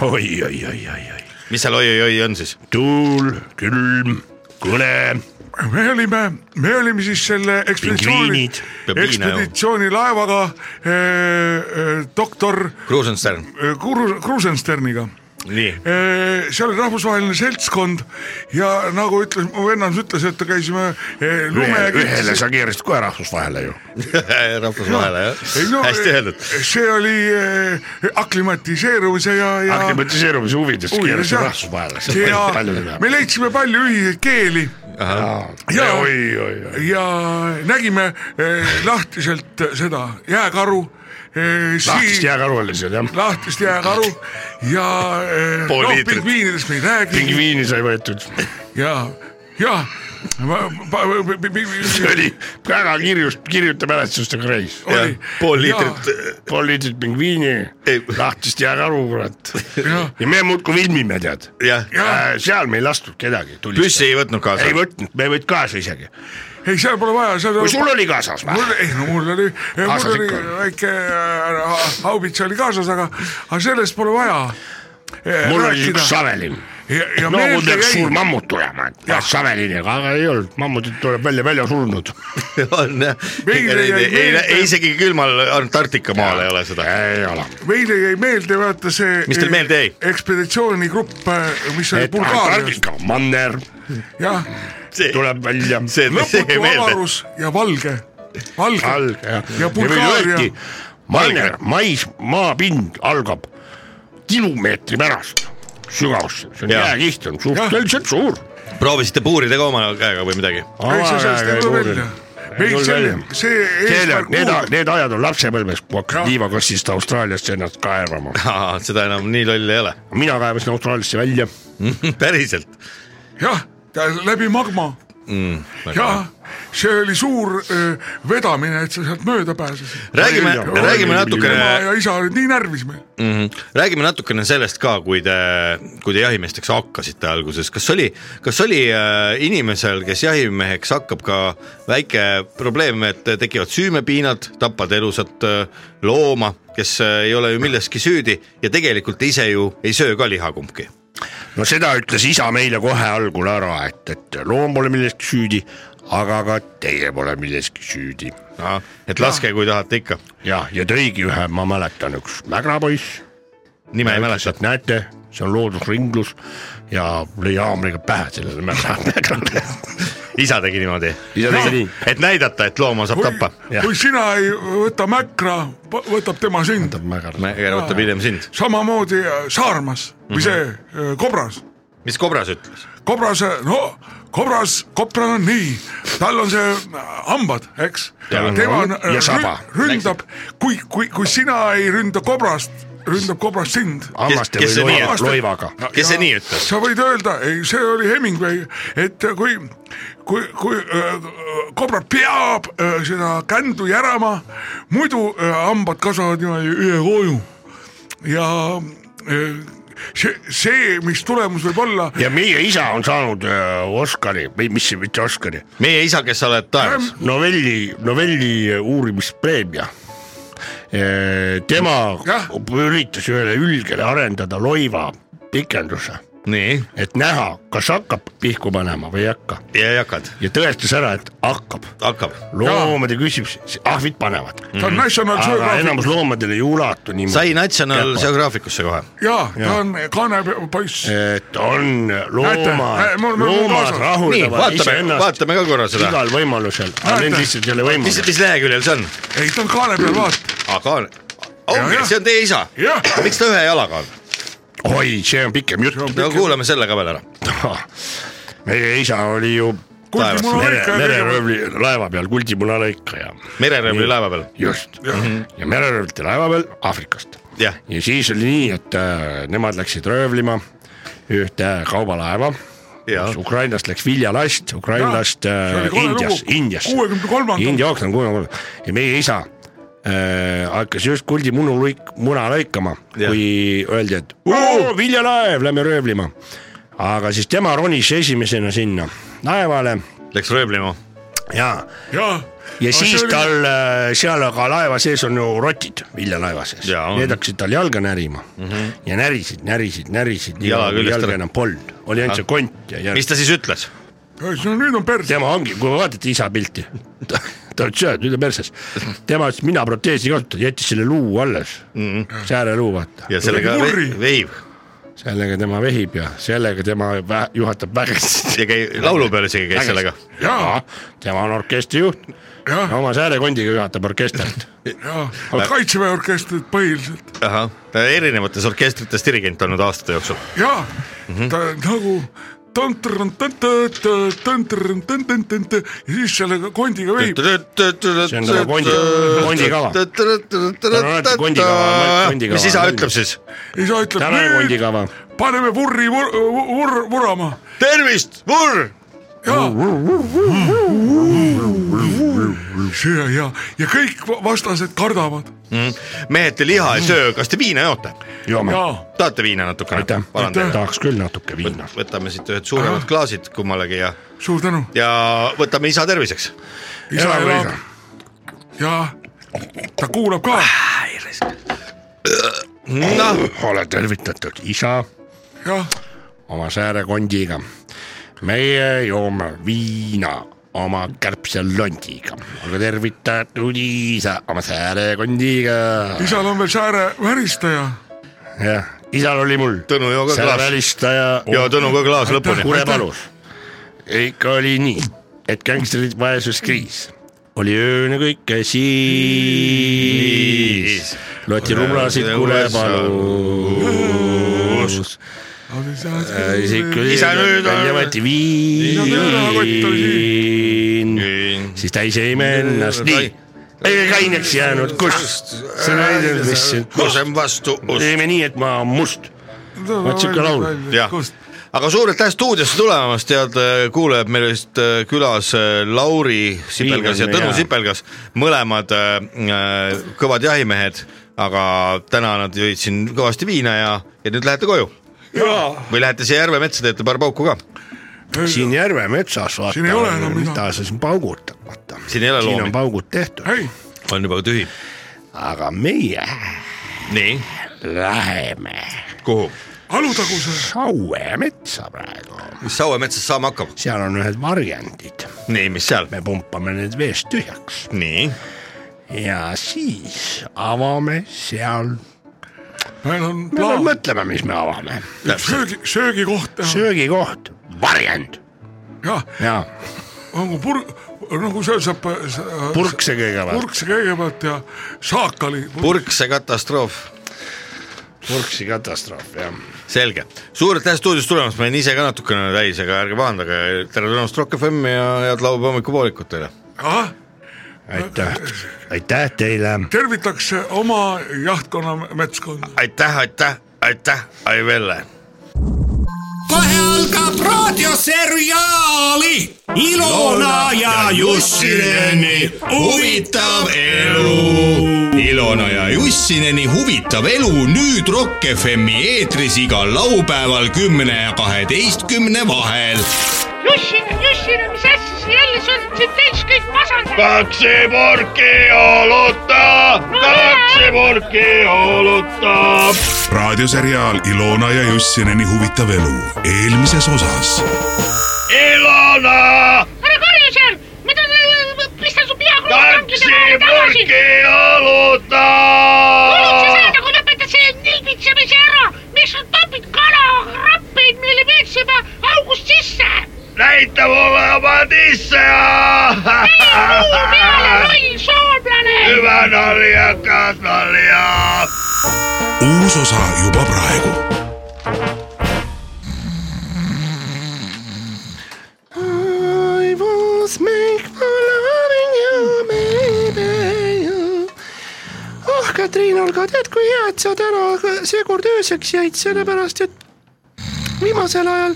oi , oi , oi , oi , oi ,
mis seal oi-oi-oi on siis ?
tuul , külm , kõle ,
me olime , me olime siis selle ekspeditsiooni
Pingviinid. ,
Peab viina jooma.
ekspeditsioonilaevaga eh, eh, doktor
Kruusenstern .
eh, Kru- Kruusensterniga
nii .
Eh, seal oli rahvusvaheline seltskond ja nagu ütles , mu vennandus ütles , et käisime eh, lume .
ühele sa keerasid kohe rahvust vahele ju .
rahvusvahele jah , hästi öeldud .
see oli eh, aklimatiseerumise ja , ja .
aklimatiseerumise huvides keerasid rahvust vahele , see on palju- palju
ja
teha .
me leidsime palju ühiseid keeli ja ,
oi , oi , oi .
ja nägime eh, lahtiselt seda jääkaru .
lahtist jääkaru oli seal jah .
lahtist jääkaru ja eh,
Pool
noh ,
liitrit.
pingviinidest me ei räägi
pingviini sai võetud .
ja , ja .
see oli väga kirjus , kirjuta mälestustega reis .
pool
Jaa.
liitrit , eh,
pool liitrit pingviini
Ei. ,
lahtist jääkaru , kurat .
Jah.
ja me muudkui filmime , tead .
jah ,
seal me ei lastud kedagi .
püssi ei võtnud kaasa
ei . võtnud , me ei võtnud kaasa isegi .
ei , seal pole vaja , seal
kui sul oli kaasas
mul
või ?,
ei no mul oli ,
Kaasas
mul oli
ikka oli.
väike äh, ha- haubits oli kaasas , aga , aga sellest pole vaja .
mul oli üks savelin .
Ja- ja
no mul
meelde
peaks
jäi-
suur mammut tulema , et
Jah.
ah, saveliniga , aga ei olnud , mammutit tuleb välja , välja surnud .
on jah ,
Meile jäi
ei , ei,
meelde-
ei isegi külmal Antarktika maal ei ole seda .
ei ole .
meile jäi meelde vaata see .
Mis teil meelde jäi?
ekspeditsioonigrupp , mis oli
et
Bulgaarias ,
Antarktika manner
jah .
see ,
tuleb välja .
see , see ei
lõputu
meelde .
avarus ja valge , valge .
alg ja ,
Ja
ja meil
Bulgaaria-
öeldi , manner , mais , maapind algab kilomeetri pärast sügavusse , see on
Jah.
jääkiht on suhteliselt suur .
proovisite puurida ka oma käega või midagi ?
ei , sa sellest
nagu
ei tule välja . meil see , see eesmärk
Need ,
puudub .
need ajad on lapsepõlves , kui
Jah.
hakkasid liivakossist Austraaliasse ennast kaevama .
seda enam nii loll ei ole .
mina kaevasin Austraaliasse välja .
päriselt .
jah , läbi magma , jah , see oli suur öö, vedamine , et sa sealt mööda pääsesid .
räägime ,
Oi,
räägime
oi,
natukene
ema , ja isa olid nii närvis meil .
räägime natukene sellest ka , kui te , kui te jahimeesteks hakkasite alguses , kas oli , kas oli äh, inimesel , kes jahimeheks hakkab , ka väike probleem , et tekivad süümepiinad , tapad elusat äh, looma , kes äh, ei ole ju milleski süüdi ja tegelikult ise ju ei söö ka liha kumbki .
no seda ütles isa meile kohe algul ära , et , et loom pole milleski süüdi , aga ka teie pole milleski süüdi .
et laske , kui tahate ikka ,
jah , ja tõigi ühe , ma mäletan , üks mägrapoiss
nime ei
ütles ,
mäleta
et . näete , see on loodusringlus ja lõi haamriga pähe sellele mägra- mägrale .
isa tegi niimoodi ,
isa tegi nii .
et näidata , et looma saab tappa .
Jah.
kui sina ei võta mäkra , võtab tema sind .
mäger võtab hiljem sind .
samamoodi äh, saarmas või see
Mhm.
äh, kobras ,
mis kobras ütles ?
kobras , no kobras , kopral on nii , tal on see äh, hambad , eks .
Tal on hambad ja saba.
ründab , kui , kui , kui sina ei ründa kobrast , ründab kobras sind
hammaste
Kes- kes see
või
nii
loiva,
ütles?
loivaga .
kes see nii ütles ?
sa võid öelda , ei , see oli Hemingway , et kui , kui , kui äh, kobra peab äh, seda kändu järama , muidu äh, hambad kasvavad niimoodi ühe hooju ja äh, see , see , mis tulemus võib olla ,
ja meie isa on saanud öö, Oscari või mis , mitte Oscari ,
meie isa , kes sa oled taevas .
novelli , novelli äh, uurimispreemia . tema
Jah.
üritas ühele ülgele arendada loiva pikenduse ,
nii ,
et näha , kas hakkab pihku panema või ei hakka
ja jakad ,
ja tõestas ära , et hakkab .
hakkab
loomade küsimus , ahvid panevad ,
ta on National
aga
Geographic
enamus loomadel ei ulatu
sai
niimoodi ,
National
Käpa.
Geographicusse kohe .
ja ta on kanepoiss ,
et on
Näete,
loomad ,
mul- mul- mul
loomad
kaasas.
nii ,
rahuldavad
vaatame ,
iseennast
vaatame ka korra seda .
igal võimalusel , aga neil
Näete.
lihtsalt ei ole
mis ,
võimalust .
mis leheküljel see on ?
ei ta on kaane peal , vaata ,
aga on , ongi
Jah. ,
see on teie isa .
Jah.
miks ta ühe jalaga on ?
oi , see on pikem jutt .
no kuulame selle ka veel ära .
meie isa oli ju
Taevas.
kuldmuna
mere ,
lõikaja ,
mereröövli laeva peal kuldimuna lõikaja ,
mereröövli laeva peal ,
just . ja mereröövlite laeva peal Aafrikast .
jah ,
ja siis oli nii , et äh, nemad läksid röövlima ühte kaubalaeva .
Jaa.
Ukrainast läks viljalast , ukrainlast
see oli
äh,
kole
Indias ,
lugu.
Indiasse .
63.
India ookean kuuekümne kolm ja meie isa äh, hakkas just kuldimunu lõik- , muna lõikama ,
Jah.
kui öeldi , et oo, viljalaev , lähme röövlima . aga siis tema ronis esimesena sinna laevale
läks röövlima .
ja ,
jah .
ja siis oli... tal äh, seal aga laeva sees on ju rotid viljalaeva sees
Jaa, , on. Mhm.
need hakkasid tal jalga närima mm -hmm. ja närisid , närisid , närisid , nii
Jala
kaua kui
küljest ära.
jalga enam polnud , oli ainult see kont ja
mis
järg .
ta siis ütles ?
no nüüd on pers ,
tema ongi , kui vaatate isa pilti , ta ta ütles , et nüüd on perses , tema ütles , mina proteesi ei kasutanud , jättis selle luu alles mm -hmm. , sääreluu vaata ,
ja sellega
Tuli
ve-
murri.
vehib
sellega tema vehib ja sellega tema vä- juhatab vägesid .
ja käi- , laulu peal isegi käis sellega .
jaa , tema on orkestrijuht ,
jah ,
oma säärekondiga juhatab orkestrit
jah , kaitseväe orkestrid põhiliselt .
ahah , ta erinevates orkestrites dirigent olnud aastate jooksul .
jaa , ta nagu , ja siis selle kondiga veib .
see
on nagu kondi- kondikava. on alati kondikava, kondikava.
mis isa ütleb siis ?
isa ütleb
täna on
nüüd
kondikava .
paneme purri vur- , vur- , vurama .
tervist , vurr ,
ja , ja , ja , ja kõik va- vastased kardavad .
mehed , te liha ei söö , kas te viina joote ?
joome ,
ja ,
tahate viina natukene
aitäh ?,
parandage .
tahaks küll natuke viina .
võtame siit ühed suuremad klaasid kummalegi ja ,
suur tänu .
ja võtame isa terviseks .
isa
Elagu
elab
isa.
ja ta kuulab ka
Mm.
noh ,
ole tervitatud , isa
ja
oma säärekondiga . meie joome viina oma kärbselondiga , olge tervitatud , isa oma säärekondiga .
isal on veel sääre väristaja .
jah , isal oli mul
Tõnu , joo ka klaas .
säärevälistaja
joo Tõnu ka klaas lõpuni .
Kurepalus . ikka oli nii , et gängsterid vaesuskriis , oli ööne kõike siis . loeti rumlasid Kurepalus . Äh,
Isa nüüd on-
välja võeti
tõenäoliselt oli
viin , siis täis jäime ennast nii . ei kaineks jäänud , kus ? see näitab , mis siin .
kusem vastu ust .
teeme nii , et ma olen must . Vot siuke laul.
jah , aga suur aitäh stuudiosse tulemast , head äh, kuulajad , meil olid äh, külas äh, Lauri Sipelgas ja
Viimane,
Tõnu
jaa.
Sipelgas , mõlemad äh, äh, kõvad jahimehed , aga täna nad jõid siin kõvasti viina ja , ja nüüd lähete koju või lähete siia Järve metsa , teete paar pauku ka ,
siin Järve metsas vaata
Siin ei ole enam ,
mida sa siin paugutad , vaata .
Siin ei ole
siin
loomi.
on paugud tehtud ,
ei ,
on juba tühi .
aga meie
nii ,
läheme
kuhu ?
Alutaguse ,
Saue metsa praegu ,
mis Saue metsas saama hakkab ?
seal on ühed varjendid ,
nii , mis seal ?
me pumpame need veest tühjaks
nii ,
ja siis avame seal ,
meil on
me veel
plaan ,
mõtleme , mis me avame ,
söögi , söögikoht teha
söögikoht , varjend
ja
ja
nagu purg , nagu seal saab purk ,
purkse kõigepealt ,
purkse kõigepealt ja saakali .
purkse katastroof
purksi katastroof jah
selge , suur aitäh stuudiost tulemast , ma olin ise ka natukene täis , aga ärge pahandage , tere tulemast Rock FM-i ja head laupäeva hommikupoolikut teile .
ahah ,
aitäh , aitäh teile
tervitaks oma jahtkonna metskonda .
aitäh , aitäh , aitäh , ai Velle .
kohe algab raadioseriaali Ilona ja Jussineni huvitav elu . Ilona ja Jussineni huvitav elu nüüd Rock FM-i eetris igal laupäeval kümne ja kaheteistkümne vahel
Jussin , Jussin , mis asja sa jälle , sa oled siin täis kõik masendanud .
raadioseriaal Ilona ja Jussineni huvitav elu eelmises osas .
ära karju seal , mida , pista su pea krokodillide vahele tagasi . olid sa seda , kui lõpetad selle nilbitsemise ära , miks sa topid kalarappeid meile veetsema august sisse ? näita mulle oma tisse . ei , muu peale , loll soomlane .
uus osa juba praegu .
I was made for loving you, baby . oh , Katriin , Olga , tead , kui hea , et sa täna seekord ööseks jäid , sellepärast et viimasel ajal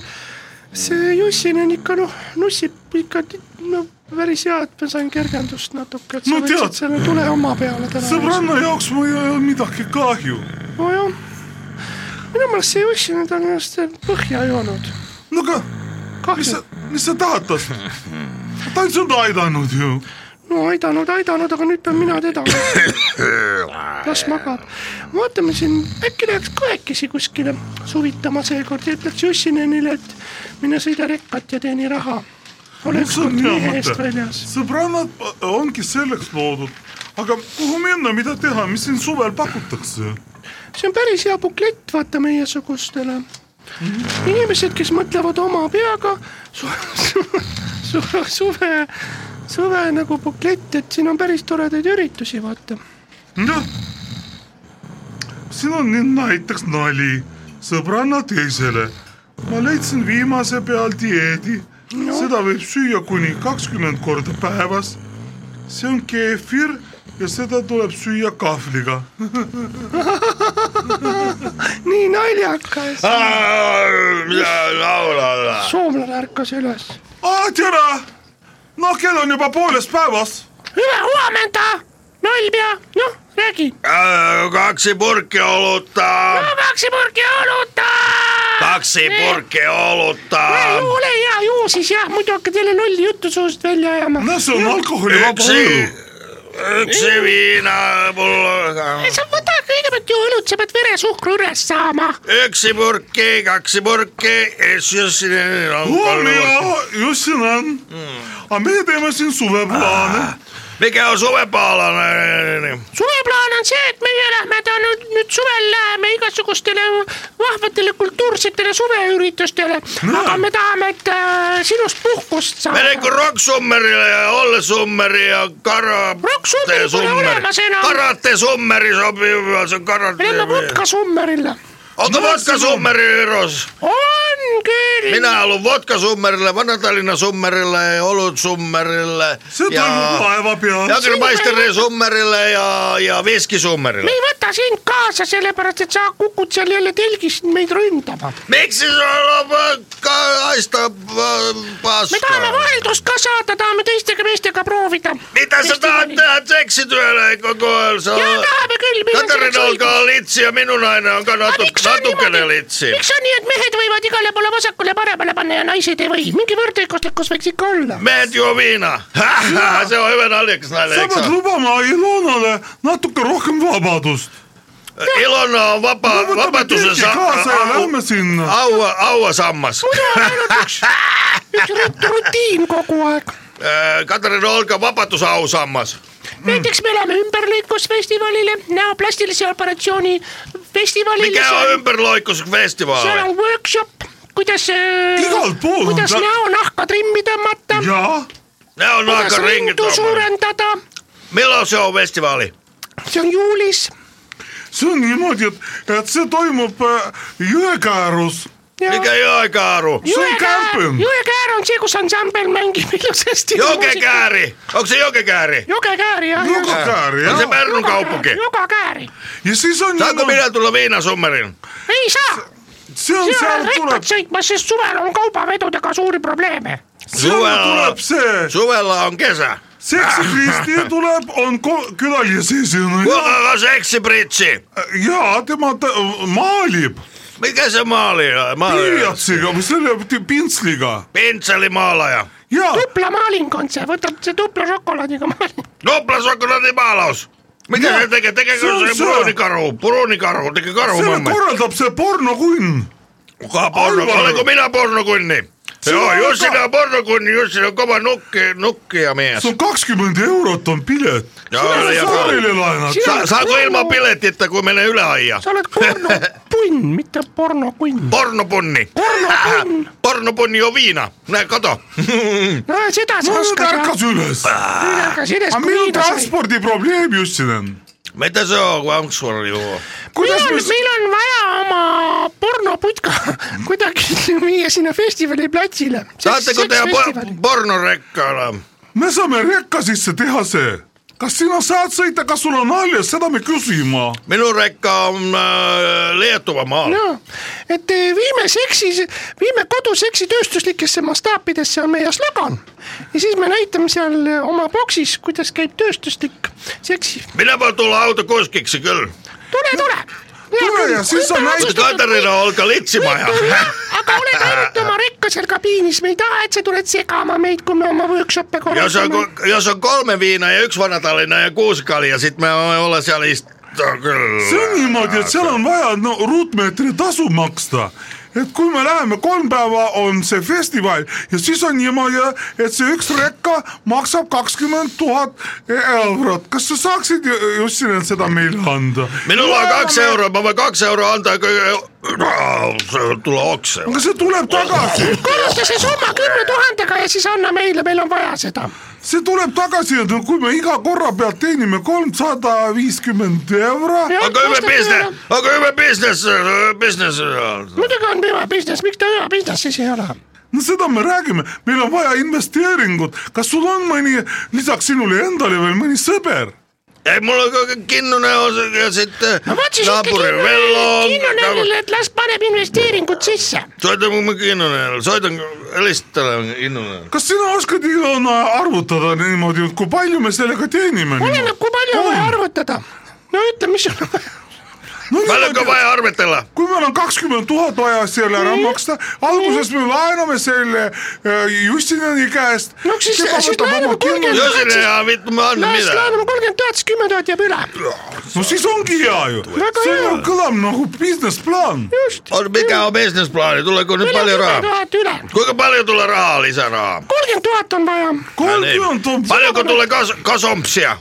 see Jussin on ikka noh , nussib ikka no päris hea , et ma sain kergendust natuke , et sa
No
no,
tead.
võtsid selle tule oma peale täna .
sõbranna jaoks mul ei ole midagi kahju .
nojah , minu meelest see Jussin on ennast põhja joonud .
no aga , mis
kahju
sa , mis sa tahad tast ? ta on sind aidanud ju .
no aidanud , aidanud , aga nüüd pean mina teda . las magab , vaatame siin , äkki läheks kahekesi kuskile suvitama seekord ja ütleks Jussinenile , et mine sõida rekkat ja teeni raha . ole
see on
ükskord
hea
mehe eest
mõte
väljas ..
sõbrannad äh, ongi selleks loodud . aga kuhu minna , mida teha , mis siin suvel pakutakse ?
see on päris hea buklett , vaata meiesugustele . inimesed , kes mõtlevad oma peaga su, , su, su, suve , suve nagu buklett , et siin on päris toredaid üritusi , vaata .
jah . siin on nii- näiteks nali sõbranna teisele , ma leidsin viimase peal dieedi no. , seda võib süüa kuni kakskümmend korda päevas . see on keefir ja seda tuleb süüa kahvliga .
nii naljakas ,
mida laulada ?
soomlane ärkas üles .
aa , tere , no kell on juba pooles päevas .
hüve huomenta , null pea , noh räägi .
Äh, kaksi purki olutta ,
maksipurki oluta .
kaksi purki olutta .
ole hea , joo siis jah , muidu hakkad jälle lolli juttu suust välja ajama .
no Eh, see on alkoholivaba õlu .
yksi, yksi viinapullo ,
sa võta kõigepealt ju õlut , sa pead veresuhkru üles saama .
yksi purkki , kaksi purkki , siis on
on
kolme
ja
purkki.
just siin on . aga meie teeme siin suveplaane .
mikä on suvepaalane ?
suveplaan on see , et meie lähme ta nüüd , nüüd suvel läheme igasugustele vahvatele kultuursetele suveüritustele no. , aga me tahame , et äh, sinust puhkust saada
mene kui Rock Summerile ja Olle Summeri ja Kara- .
Rock Summeri pole olemas enam.
Karate Summeri sobib , see on karate .
Lähme vodka summerile .
onko Vodka Summeri Viros ?
on küll .
minä haluan Vodka Summerille , Vana-Tallinna Summerille ja Olut Summerille .
see toimub laeva peal .
Jagermeisteri Summerille ja , ja Viski Summerille
me . ei võta sind kaasa , sellepärast et sa kukud seal jälle telgist meid ründama .
miksi se on ka- aista pa-
me tahame
paskaa ?
vaheldust ka saada , tahame teistega meestega proovida .
mitä sä tahat tehdä seksityölle koko ajan ?
ja tahame küll .
Katarina olkaa litsi ja minun aina on ka natu, natukene litsi .
miks on niin, nii , et mehed võivad igale poole vasakule-paremale panna ja naised ei või ? mingi võrdõiguslikkus võiks ikka olla .
Meet juo viinaa. se on hyvä naljakas näille,
sa
eikö
pead
ole?
lubama Ilonale natuke rohkem vabadust .
Ilona on vapaa,
võtame
vapautuksen
telgi
sa-
kaasa ja lähme sinna .
Aua, aua sammas.
üks rut- rutiin kogu aeg .
Öö, Katarina olkaa vapautus au sammas. Mm.
näiteks me läheme ümberlõikusfestivalile , näoplastilise operatsiooni festivalile .
Mikä on ympäriloikkusfestivaali?
seal on workshop , kuidas .
Igal pool on
No-
kuidas
ta-
näonahka trimmi tõmmata ,
jaa ,
Ne on aika
kuidas
ringit.
rindu suurendada ,
Milloin se on festivaali?
see on juulis
see on niimoodi , et , et see toimub äh, Jõekäärus .
ja...
Mikä ei ole aika aru?
on
Jõekäär-
camping.
Jõekäär on see , kus ansambel mängib ilusasti .
Jokekääri! Onko se Jokekääri?
jokekääri jah .
Jõgekäär
On se
jah ,
Pernun kaupunki?
jokekääri ,
ja siis on .
Saanko minä tulla viinasummerin?
ei saa ,
see on ,
seal on
seal
rikkad
tuleb ,
sõitmas , sest suvel on kaubavedudega suuri probleeme .
seal tuleb see ,
Suvella on kesä.
seksikristi tuleb , on ko- külalisesineja
Kuka on seksipritsi?
ja tema ta- maalib
Mikä se maali on? Maali on.
pliiatsiga või selle ti- pintsliga
Pintselimaalaja.
ja
tuplamaaling on see , võtad see tupla šokolaadiga maaling .
Noplasokolatimaalaus. Mitä
Joo.
se tekee? Tekeekö
Se on
se
se.
purunikaru? Purunikaru. Tekee
selle
karumamme.
korraldab see pornokunn .
Kuka porno?
Aivan.
Olenko minä pornokunni?
Se
Joo,
on
Jussi
aika-
on pornokunni. Jussi on kova nukki, nukkia mies.
see on kakskümmend eurot on pilet .
Joo, ja-
saarile laenad ,
Sa, saanko ilman biletittä, kun menee yläajaa?
sa oled pornopunn , mitte pornokunn .
Pornopunni.
pornokunn ,
Pornopunni on viina. Näin, kato.
no seda sa
no ta
oskad
ärkas üles .
jah , ärkas üles
aga
kui
meil Ah, on
viina sai .
transpordiprobleem just siin on .
Mitä se on, kun onks sulla juo?
meil
kuidas
on
me ,
meil on vaja oma pornoputka kuidagi viia sinna festivali platsile .
Saatteko tehdä po- pornorekkailla?
me saame rekka sisse teha see , kas sina saad sõita , kas sul on alles , seda me küsime .
Minun rekka on äh, Lietuva maa.
no , et eh, viime seksi , viime koduseksi tööstuslikesse mastaapidesse on meie slogan ja siis me näitame seal eh, oma boksis , kuidas käib tööstuslik seksi .
Minä voin tulla autokuskiksi kyllä.
tule , tule .
Tule ja siis sa näitad-
Katarina Olka Litsimaja.
aga oled ainult oma rekka seal kabiinis , me ei taha , et sa tuled segama meid , kui me oma workshop'e
Jos on,
korraldame .
ko- jos on kolme viinaa ja yksi vanatalina ja kuusi kaljaa, sit me olla siellä istua kyllä.
see on niimoodi , et seal on vaja no ruutmeetri tasu maksta . et kui me läheme kolm päeva , on see festival ja siis on niimoodi , et see üks rekka maksab kakskümmend tuhat eurot . kas sa saaksid , Jussinen , seda meile anda ?
Minulla on kaksi euroa, mä voin kaksi euroa antaa, kun Au, se tulee okseen.
aga see tuleb tagasi .
korruta see summa kümne tuhandega ja siis anna meile , meil on vaja seda .
see tuleb tagasi , et no kui me iga korra pealt teenime kolmsada viiskümmend euro ,
aga hüve business , aga hüve business , business . äh,
muidugi on tema business , miks ta hea business siis ei ole ?
no seda me räägime , meil on vaja investeeringut , kas sul on mõni , lisaks sinule endale veel mõni sõber ?
ei , mul on ka kinnune osa ja äh, siit
no vot siis
naabri Vello .
kinnonärile , et las paneb investeeringud sisse .
soidan mu kinnune , soidan , helistan talle kinnune .
kas sina oskad Ilona arvutada niimoodi , kui palju me sellega teenime ?
oleneb , kui palju on nagu- vaja arvutada . no ütle , mis sul on nagu vaja .
palju on ka vaja arvetele ?
kui meil on kakskümmend tuhat vaja selle ära maksta , alguses me laename selle äh, Justinani käest .
No siis- siis laename
No
30 tuhat.
Josile ja vittu ma annan
las
midagi .
laename kolmkümmend tuhat , siis kümme tuhat jääb üle .
no siis ongi hea ju ,
Väga
see
hea.
ju kõlab nagu business plan .
just .
on pika business plaani , tulegu nüüd palju raha .
tuhat üle .
kuinga palju tuleb raha , lisaraha ?
kolmkümmend tuhat on vaja .
kolmkümmend on
paljuko tulee kas- , kasumpsia ?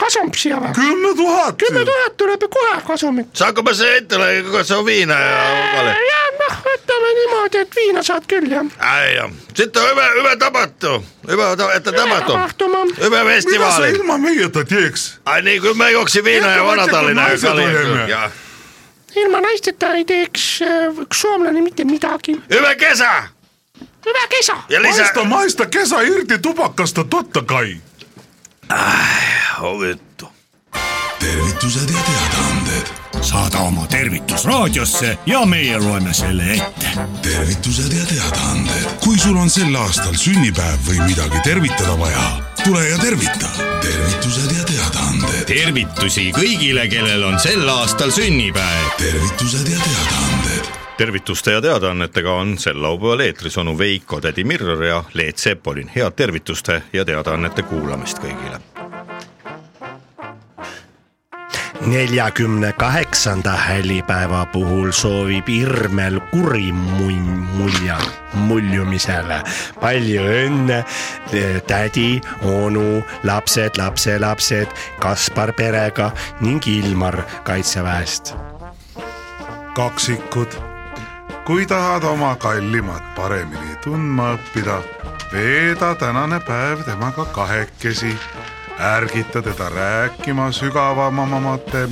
kasumpsi on vaja .
kümme tuhat .
kümme tuhat tuleb ju kohe kasumit .
saanko ma selle ettele , kas se on viina ja kale ?
ja noh , ütleme niimoodi , et viina saad küll jah .
Ai joo. Sitten on hyvä, hyvä tapahtu. Hyvä, ta- että tapahtu.
tapahtuma .
Hyvä
mida sa
festivaali.
ilma meieta teeks ?
Ai niin, kyllä mä juoksin viinaa ja
Ehkä vaikka
vanatallinaa ja
naiset
kaljaa.
olemme.
Ja-
ilma naisteta ei teeks äh, üks soomlane mitte midagi .
Hyvä kesä!
hüve kesa .
Ja lisää...
maista , maista kesä irti tupakasta , totta kai .
Oh, vittu.
tervitused ja teadaanded ,
saada oma tervitus raadiosse ja meie loeme selle ette .
tervitused ja teadaanded . kui sul on sel aastal sünnipäev või midagi tervitada vaja , tule ja tervita . tervitused ja teadaanded ,
tervitusi kõigile , kellel on sel aastal sünnipäev .
tervitused ja teadaanded ,
tervituste ja teadaannetega on sel laupäeval eetris onu Veiko , tädi Mirror ja Leet Sepolin . head tervituste ja teadaannete kuulamist kõigile .
neljakümne kaheksanda häälipäeva puhul soovib Irmel kuri mun- mulja , muljumisele palju õnne , tädi , onu , lapsed , lapselapsed , Kaspar perega ning Ilmar Kaitseväest .
kaksikud , kui tahad oma kallimat paremini tundma õppida , veeda tänane päev temaga kahekesi , ärgita teda rääkima sügavamamatel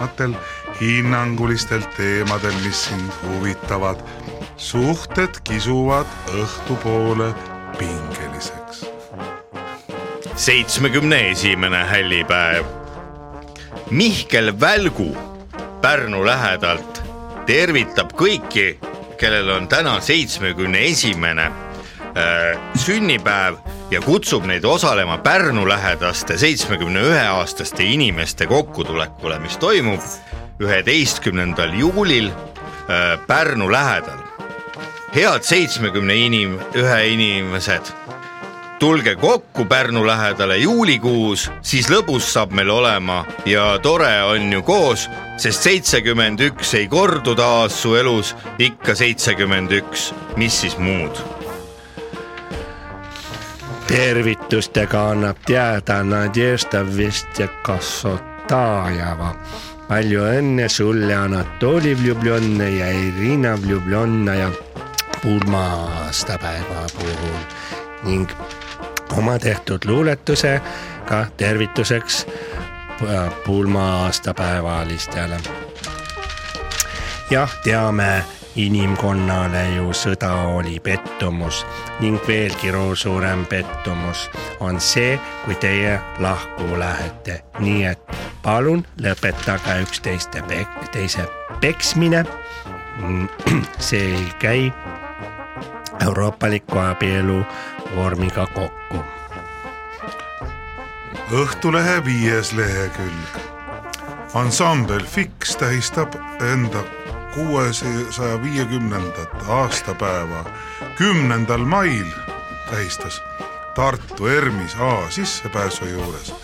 matel hinnangulistel teemadel , mis sind huvitavad . suhted kisuvad õhtupoole pingeliseks .
seitsmekümne esimene hällipäev . Mihkel Välgu Pärnu lähedalt tervitab kõiki , kellel on täna seitsmekümne esimene äh, sünnipäev ja kutsub neid osalema Pärnu lähedaste seitsmekümne ühe aastaste inimeste kokkutulekule , mis toimub üheteistkümnendal juulil äh, Pärnu lähedal . head seitsmekümne inim- , ühe inimesed tulge kokku Pärnu lähedale juulikuus , siis lõbus saab meil olema ja tore on ju koos , sest seitsekümmend üks ei kordu taas su elus ikka seitsekümmend üks , mis siis muud .
tervitustega annab teada Nadežda Vestjakasotajeva . palju õnne sulle , Anatoli Vljublonna ja Irina Vljublonna ja pulmasta päeva puhul ning oma tehtud luuletusega tervituseks äh, pu- pulma-aastapäevalistele . jah , teame , inimkonnale ju sõda oli pettumus ning veelgi ro- suurem pettumus on see , kui teie lahku lähete . nii et palun lõpetage üksteiste pek- , teise peksmine . see ei käi euroopaliku abielu vormiga kokku
Õhtulehe viies lehekülg . ansambel Fix tähistab enda kuuesaja viiekümnendat aastapäeva . kümnendal mail tähistas Tartu Ermis A sissepääsu juures .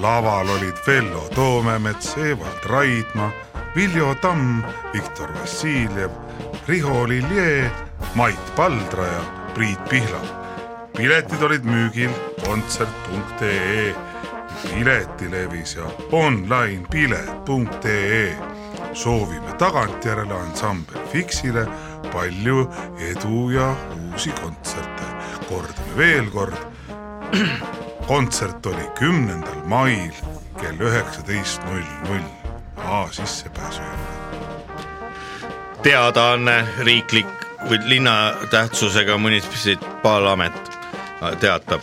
laval olid Vello Toomemets , Evald Raidma , Viljo Tamm , Viktor Vassiljev , Riho Lilje , Mait Paldra ja Priit Pihlap piletid olid müügil kontsert.ee , piletilevis ja onlinepilet.ee . soovime tagantjärele ansambel Fixile palju edu ja uusi kontserte . kordame veel kord .
kontsert oli kümnendal mail kell üheksateist null null A sissepääsu juurde .
teadaanne riiklik või linna tähtsusega munitsipaalamet äh, teatab .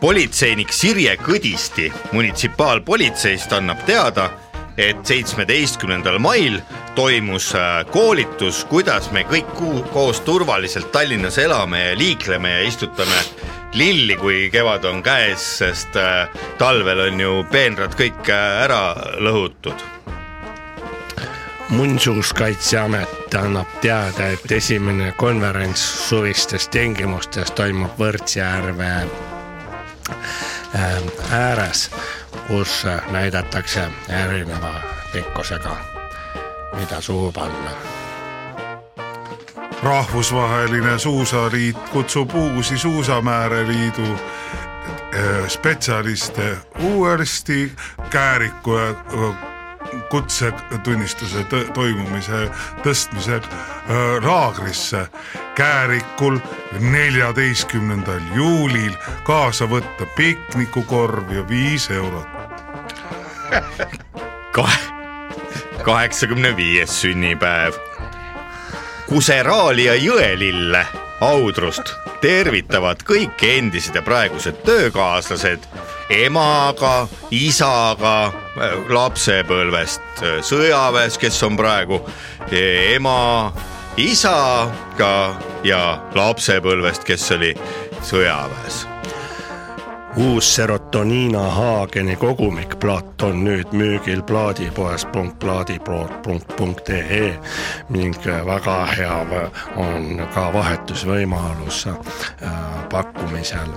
politseinik Sirje Kõdisti munitsipaalpolitseist annab teada , et seitsmeteistkümnendal mail toimus äh, koolitus , kuidas me kõik ku- koos turvaliselt Tallinnas elame ja liikleme ja istutame lilli , kui kevad on käes , sest äh, talvel on ju peenrad kõik äh, ära lõhutud
muinsuskaitseamet annab teada , et esimene konverents suvistes tingimustes toimub Võrtsjärve ähm, ääres , kus äh, näidatakse erineva pikkusega , mida suhu panna .
rahvusvaheline suusaliit kutsub uusi suusamääreliidu eh, spetsialiste uuesti kääriku ja eh, kutsetunnistuse tõ- toimumise tõstmisel eh, laagrisse Käärikul neljateistkümnendal juulil kaasa võtta piknikukorv ja viis eurot .
kahe , kaheksakümne viies sünnipäev . Kuseraalia jõelille Audrust tervitavad kõik endised ja praegused töökaaslased emaga , isaga äh, lapsepõlvest äh, sõjaväes , kes on praegu eh, ema , isaga ja lapsepõlvest , kes oli sõjaväes .
uus serotoniina Haageni kogumik plaat on nüüd müügil plaadipoes punkt plaadipood punkt punkt ee ning äh, väga hea vä- on ka vahetusvõimalus äh, pakkumisel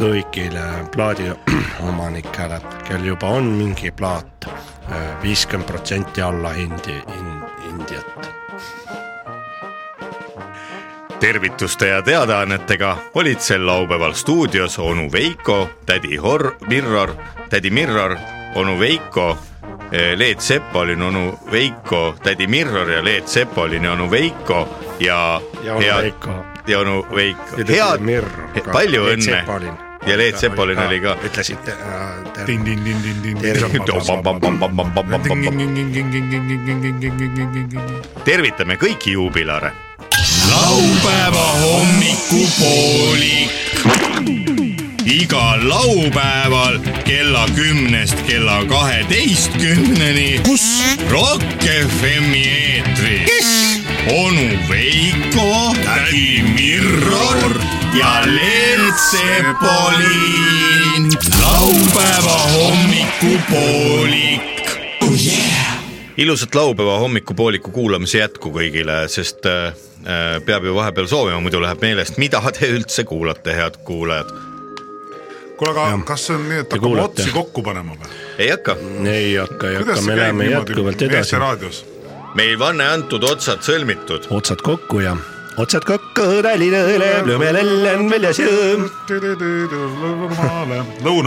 kõigile plaadiomanikele , kel juba on mingi plaat , viiskümmend protsenti alla hindi in, , Indiat .
tervituste ja teadaannetega olid sel laupäeval stuudios onu Veiko , tädi Hor- , Mirror , tädi Mirror , onu Veiko , Leet Sepolin , onu Veiko , tädi Mirror ja Leet Sepolin ja onu Veiko ja .
Ja onu Veiko.
ja onu Veiko .
Ja tädi Mirror
head
ka. ,
palju
Leet
õnne
Sepolin. .
ja Leet Sepolin oli ka .
ütlesid äh, te-
tervitame kõiki juubilare
laupäeva hommikupoolik . igal laupäeval kella kümnest kella kaheteistkümneni . kus ? Rock FM-i eetris . kes ? onu Veiko , tädi Mirror ja Leelt Sepolin . laupäeva hommikupoolik .
ilusat laupäeva hommikupooliku kuulamise jätku kõigile , sest äh, äh, peab ju vahepeal soovima , muidu läheb meelest , mida te üldse kuulate , head kuulajad .
kuule , aga kas see on nii , et hakkame
kuulate.
otsi kokku panema või ?
ei hakka ,
ei hakka , ei hakka , me läheme jätkuvalt edasi
Eesti , raadios .
meil vanne antud , otsad sõlmitud .
otsad kokku ja otsad kokku , Tallinna õle , Lõmelell on väljas jõõm
lõunamaine .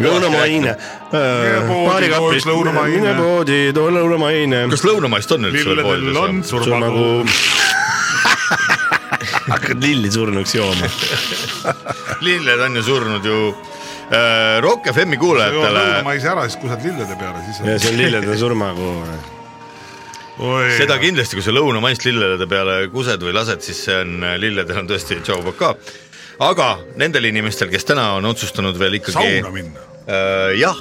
lõunamaine .
Mine poodi, pood, lõunamaine.
mine poodi , too lõunamaine .
kas lõunamaist on üldse veel
lillel on
poodides ?
sul nagu
surmaku .
hakkad lilli surnuks jooma .
lilled on ju surnud ju äh, Rock FM-i kuulajatele ,
lõunamaise ära , siis kusad lillede peale ,
ja
siis
see on lillede surmakuu .
on .
seda . kindlasti , kui sa lõunamaist lillede peale kused või lased , siis see on , lilledel on tõesti tšau baka . aga nendel inimestel , kes täna on otsustanud veel ikkagi
sauna minna .
Äh, jah ,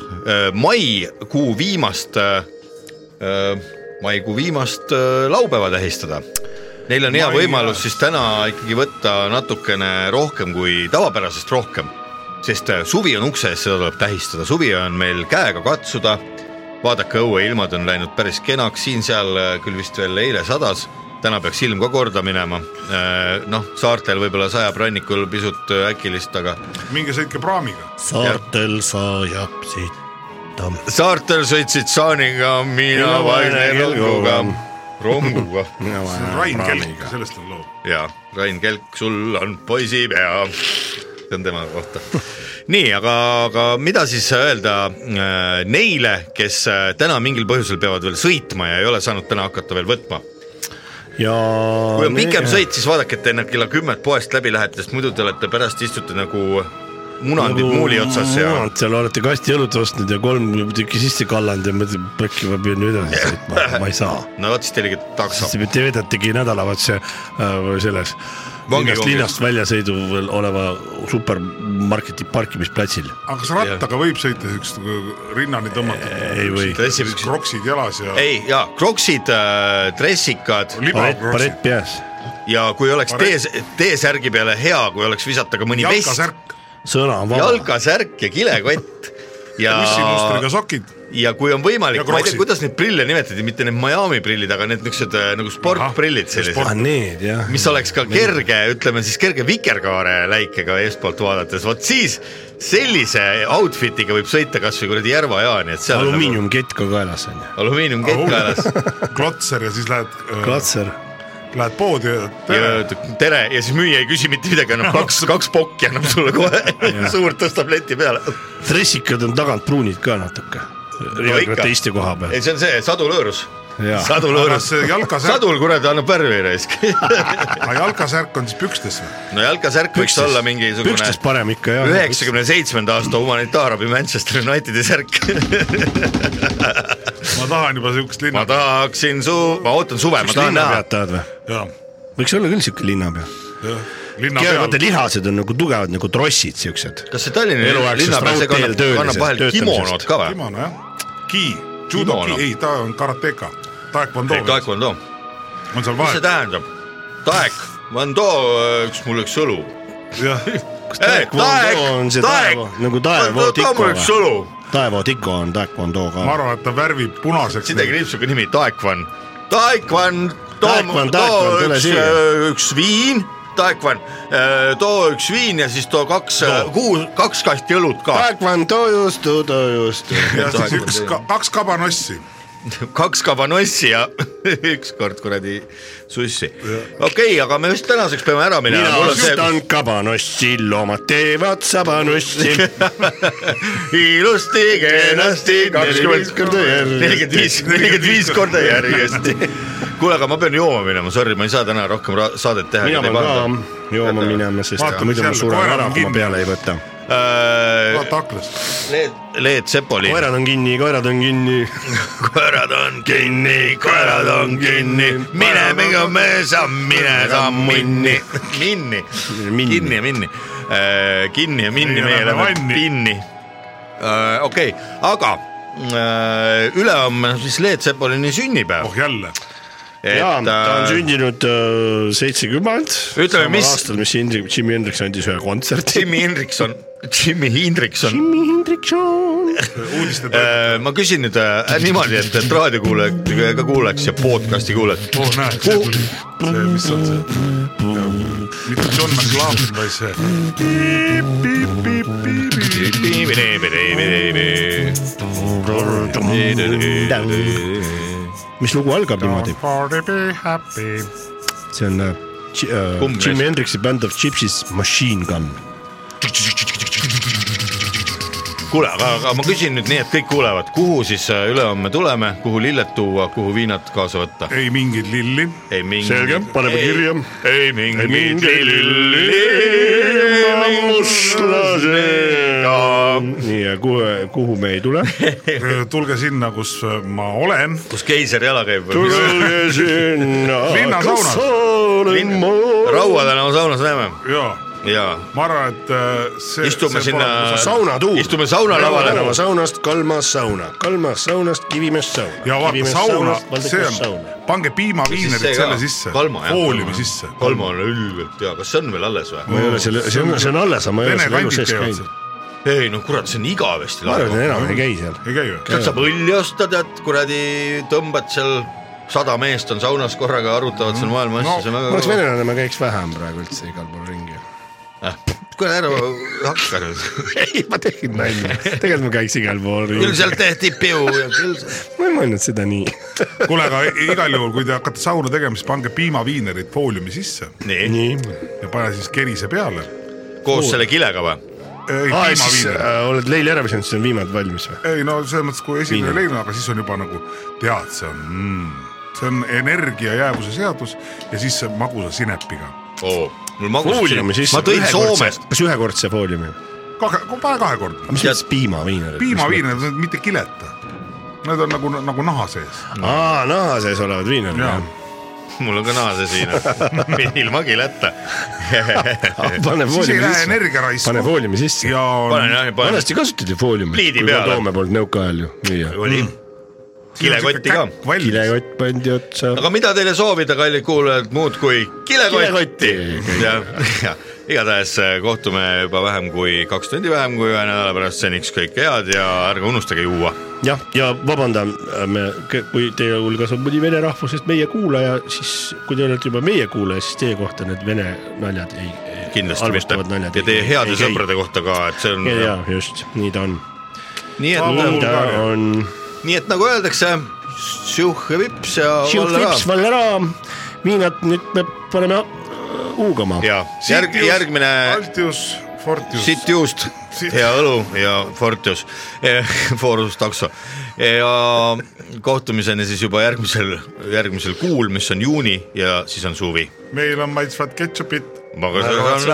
maikuu viimast , äh, maikuu viimast äh, laupäeva tähistada . Neil on hea
Mai-
võimalus siis täna ikkagi võtta natukene rohkem kui tavapärasest rohkem , sest äh, suvi on ukse ees , seda tuleb tähistada , suvi on meil käega katsuda . vaadake , õueilmad on läinud päris kenaks , siin-seal äh, küll vist veel eile sadas , täna peaks ilm ka korda minema . noh , saartel võib-olla sajab rannikul pisut äh, äkilist , aga
minge sõitke praamiga .
saartel sajab siit .
saartel sõitsid saaniga , mina
Mina
vaid
vaene
kelguga
kelguga. ,
ronguga
Rain Kelk , sellest on loo .
ja Rain Kelk , sul on poisipea . see on tema kohta . nii , aga , aga mida siis öelda äh, neile , kes äh, täna mingil põhjusel peavad veel sõitma ja ei ole saanud täna hakata veel võtma ?
ja .
kui on pikem . sõit , siis vaadake , et te enne kella kümmet poest läbi lähete , sest muidu te olete pärast istute nagu munandid muuli otsas ja
munad seal olete kasti õlut ostnud ja kolm tükki sisse kallanud ja mõtled , äkki ma pean edasi sõitma , ma ei saa .
no vot siis teilgi takso
siis . te vedategi nädalavahetuse äh, selles
Vangikongis.
linnast, linnast väljasõiduval oleva supermarketi parkimisplatsil .
aga kas rattaga võib sõita siukest äh, rinnani tõmmatud ,
ei või ,
dressipüksid ,
kroksid jalas ja
ei jaa , kroksid , dressikad
barett ,
libakroksid
barett , peas ,
ja kui oleks tee , teesärgi peale hea , kui oleks visata ka mõni vest ,
jalkasärk ,
sõna on vaba .
jalgasärk ja kilekott ja ,
missimustriga sokid ,
ja kui on
Ja
võimalik , ma ei tea ,
kroksid.
kuidas neid prille nimetati , mitte need Miami prillid , aga need niisugused äh, nagu sportprillid sellised
ah , need jah .
mis oleks ka kerge , ütleme siis kerge vikerkaare läikega eestpoolt vaadates , vot siis sellise outfit'iga võib sõita kasvõi kuradi Järva jaani , et seal on nagu
alumiiniumkett ka kaelas on ju ,
alumiiniumkett kaelas
klotser Oh. ja siis lähed ,
klatser .
lähed poodi ja
ja öeldakse tere ja siis müüja ei küsi mitte midagi , annab kaks , kaks pokki annab sulle kohe , suurt tõstab leti peale .
dressikad on tagant pruunid ka natuke .
ikka.
jalgratta istu koha peal
ei ,. see on see Sadu Lõõrus ,
jaa ,
Sadu
aga
Lõõrus ,
see jalkasärk ,
Sadul kuradi annab värvi raisk .
aga jalkasärk on siis pükstes või ?
no jalgasärk võiks olla mingisugune
pükstest parem ikka jah .
üheksakümne seitsmenda aasta humanitaarabi Manchester Unitedi särk .
ma tahan juba siukest linna
ma , tahaksin su , ma ootan suve , ma tahan näha
linnapead tahad või ?
jaa ,
võiks olla küll siuke linnapea .
linna
vaata
peal ,
lihased on nagu tugevad nagu trossid siuksed .
kas see Tallinna
Eluaegsest
linnapea , see kannab ,
raudteel
kannab vahel
töölisest,
kimonot ka või ?
kimono jah , ki , judo
Kimono. ,
ei ta on karateka , taekwondo
Taekwondo ,
on
mis
seal
see
vahet ,
tähendab ? Taekwondo , üks mul üks õlu .
jah ,
taekwondo on see taeva- nagu taeva tiko
too mul üks
või?
õlu .
Taevo Tiko on taekwondo
ma
ka .
arvan , et ta värvib punaseks .
Side kriipsuga nimi Taekwon , Taekwon , too
Taekwon, , Taekwon,
too
tule
üks äh,
siia. ,
üks viin , Taekwon , too üks viin ja siis too kaks , kuus , kaks kasti õlut ka .
taekwondo juustu , tojustu .
ja siis üks , kaks kabanossi ,
kaks kabanossi ja üks kord kuradi sussi . okei , aga me vist tänaseks peame ära minema .
mina ostan kabanossi , loomad teevad sabanossi .
ilusti , kenasti , kakskümmend korda järjest , nelikümmend viis , nelikümmend viis korda järjest . kuule , aga ma pean jooma minema , sorry , ma ei saa täna rohkem ra- saadet teha .
mina pean ka jooma minema , sest
Vaatame
muidu ma
seal,
suren
koerad
ära
on ,
kui ma
kinni.
peale ei võta .
ka .
vaata aknast .
Leet , Leet Sepoli .
koerad on kinni , koerad on kinni .
koerad on kinni , koerad on kinni , minemiga me saame , mine sa minni , minni ,
Minni.
kinni ja minni , kinni ja minni ,
Meie
meie läheme
läheme vanni.
pinni . okei , aga äh, ülehomme on siis Leet Sepolini sünnipäev
oh , jälle ,
et
jaa , ta on
äh,
sündinud äh, seitsekümmend .
Ütleme, mis-
aastal , mis Indrek , Jimi Hendrix andis ühe kontserti .
Jimmy Hendrikson , Jimmy Hendrikson ,
Jimi Hendrikson .
uudiste peal ,
ma küsin nüüd äh, niimoodi , et , et raadiokuulajad ka kuuleks ja podcast'i kuulajad .
oh näed , see tuli , see , mis on see , mitte John McLaughlin , vaid see
mis lugu algab niimoodi ?
Party be happy ,
see on äh, Chi- äh,
Kumb
Jimi
neist?
Hendrixi band of Gypsies Machine Gun .
kuule , aga , aga ma küsin nüüd nii , et kõik kuulevad , kuhu siis äh, ülehomme tuleme , kuhu lilled tuua , kuhu viinad kaasa võtta ?
ei mingeid lilli ,
ei mingit .
Selge, paneme kirja. .
ei mingit
mingeid
lilli
ma mustlasega. . nii ja kuhu , kuhu me ei tule ?
tulge sinna , kus äh, ma olen ,
kus keiser jala käib ?
tulge sinna .
Linnasaunas.
Raua tänava saunas näeme
jaa ,
ja
ma arvan , et äh, see
Istume
see
sinna-
pole- nagu
saunatuur .
Istume saunalavale.
tänava saunast Kalmas sauna , Kalmas saunast Kivimäest sauna .
ja vaata sauna , see on , pange
Ja siis
piimaviinerid
see ka.
selle sisse
Kalma, , jah,
fooliumi
Kalma.
sisse ,
Kalmo on ülbelt hea , kas see on veel alles või ?
ma ei ole selle , see on , see on alles , aga ma ei ole
Vene
selle elu
kandid
sees
käivad
käinud
seal .,
ei noh , kurat , see on igavesti
ma arvan , et
lahe .
enam ei käi seal .
ei käi või ?
sealt saab õlli osta , tead , kuradi tõmbad seal sada meest on saunas korraga , arutavad seal maailma asju , see on
ma Mm. oleks
väga .
venelane , ma käiks vähem praegu üldse igal pool ringi .
Ah, kuule ära hakka nüüd .
ei , ma tegin nalja , tegelikult ma käiks igal pool
küll
ringi .
seal tehti piu ja küll .
ma ei mõelnud seda nii .
kuule , aga igal juhul , kui te hakkate sauna tegema , siis pange piimaviinerid fooliumi sisse
nii ,
nii .
ja pane siis kerise peale .
koos selle kilega või ?
aa , et siis äh, oled leili ära visanud , siis on viimad valmis või ?
ei no selles mõttes , kui esimene
Viinad.
leina , aga siis on juba nagu tead , see on mm, , see on energia jäävuse seadus ja siis see magusa sinepiga .
oo , mul magus .
fooliumi sisse .
ma tõin Soomest ,
kas ühekordse fooliumi ?
kahe , pane kahekordne .
mis mõttes piimaviinerid ?
piimaviinerid , need mitte kileta . Need on nagu , nagu naha sees .
aa , naha sees olevad viinerid ,
Jaa.
jah .
mul on ka naase siin ilma kileta .
Ah, pane
siis
fooliumi
ei lähe
sisse ,
energia raisku .
pane fooliumi sisse .
ja
panen jah , panen
vanasti kasutati fooliumi ,
Pliidi
kui
peale.
kondoome polnud nõukaajal ju müüa .
oli kilekotti ka .
valmis .
Mm. kilekott pandi otsa .
aga mida teile soovida , kallid kuulajad , muud kui kilekotti
Kilekotti. .
ja , ja igatahes äh, kohtume juba vähem kui kaks tundi vähem kui ühe nädala pärast , seniks kõike head ja ärge unustage juua .
jah , ja vabandan , me , kui teie hulgas on mõni vene rahvusest meie kuulaja , siis kui te olete juba meie kuulaja , siis teie kohta need vene naljad ei .
kindlasti mitte . ja teie heade . sõprade kohta ka , et see on
ja , ja just nii ta on .
nii et ,
nii ta on .
nii et nagu öeldakse , šuhh ja vips ja
Chips
valleraam .
Valeraam , viinad nüüd me paneme huugama .
ja järg , järgmine
Altius , Fortius .
sitt juust
Sitt-
ja õlu ja Fortius , Forus takso Eh, ja kohtumiseni siis juba järgmisel , järgmisel kuul , mis on juuni ja siis on suvi .
meil on maitsvat ketšupit .
narkoos .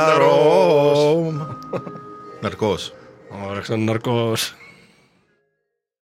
narkoos .
ma oleks olnud narkoos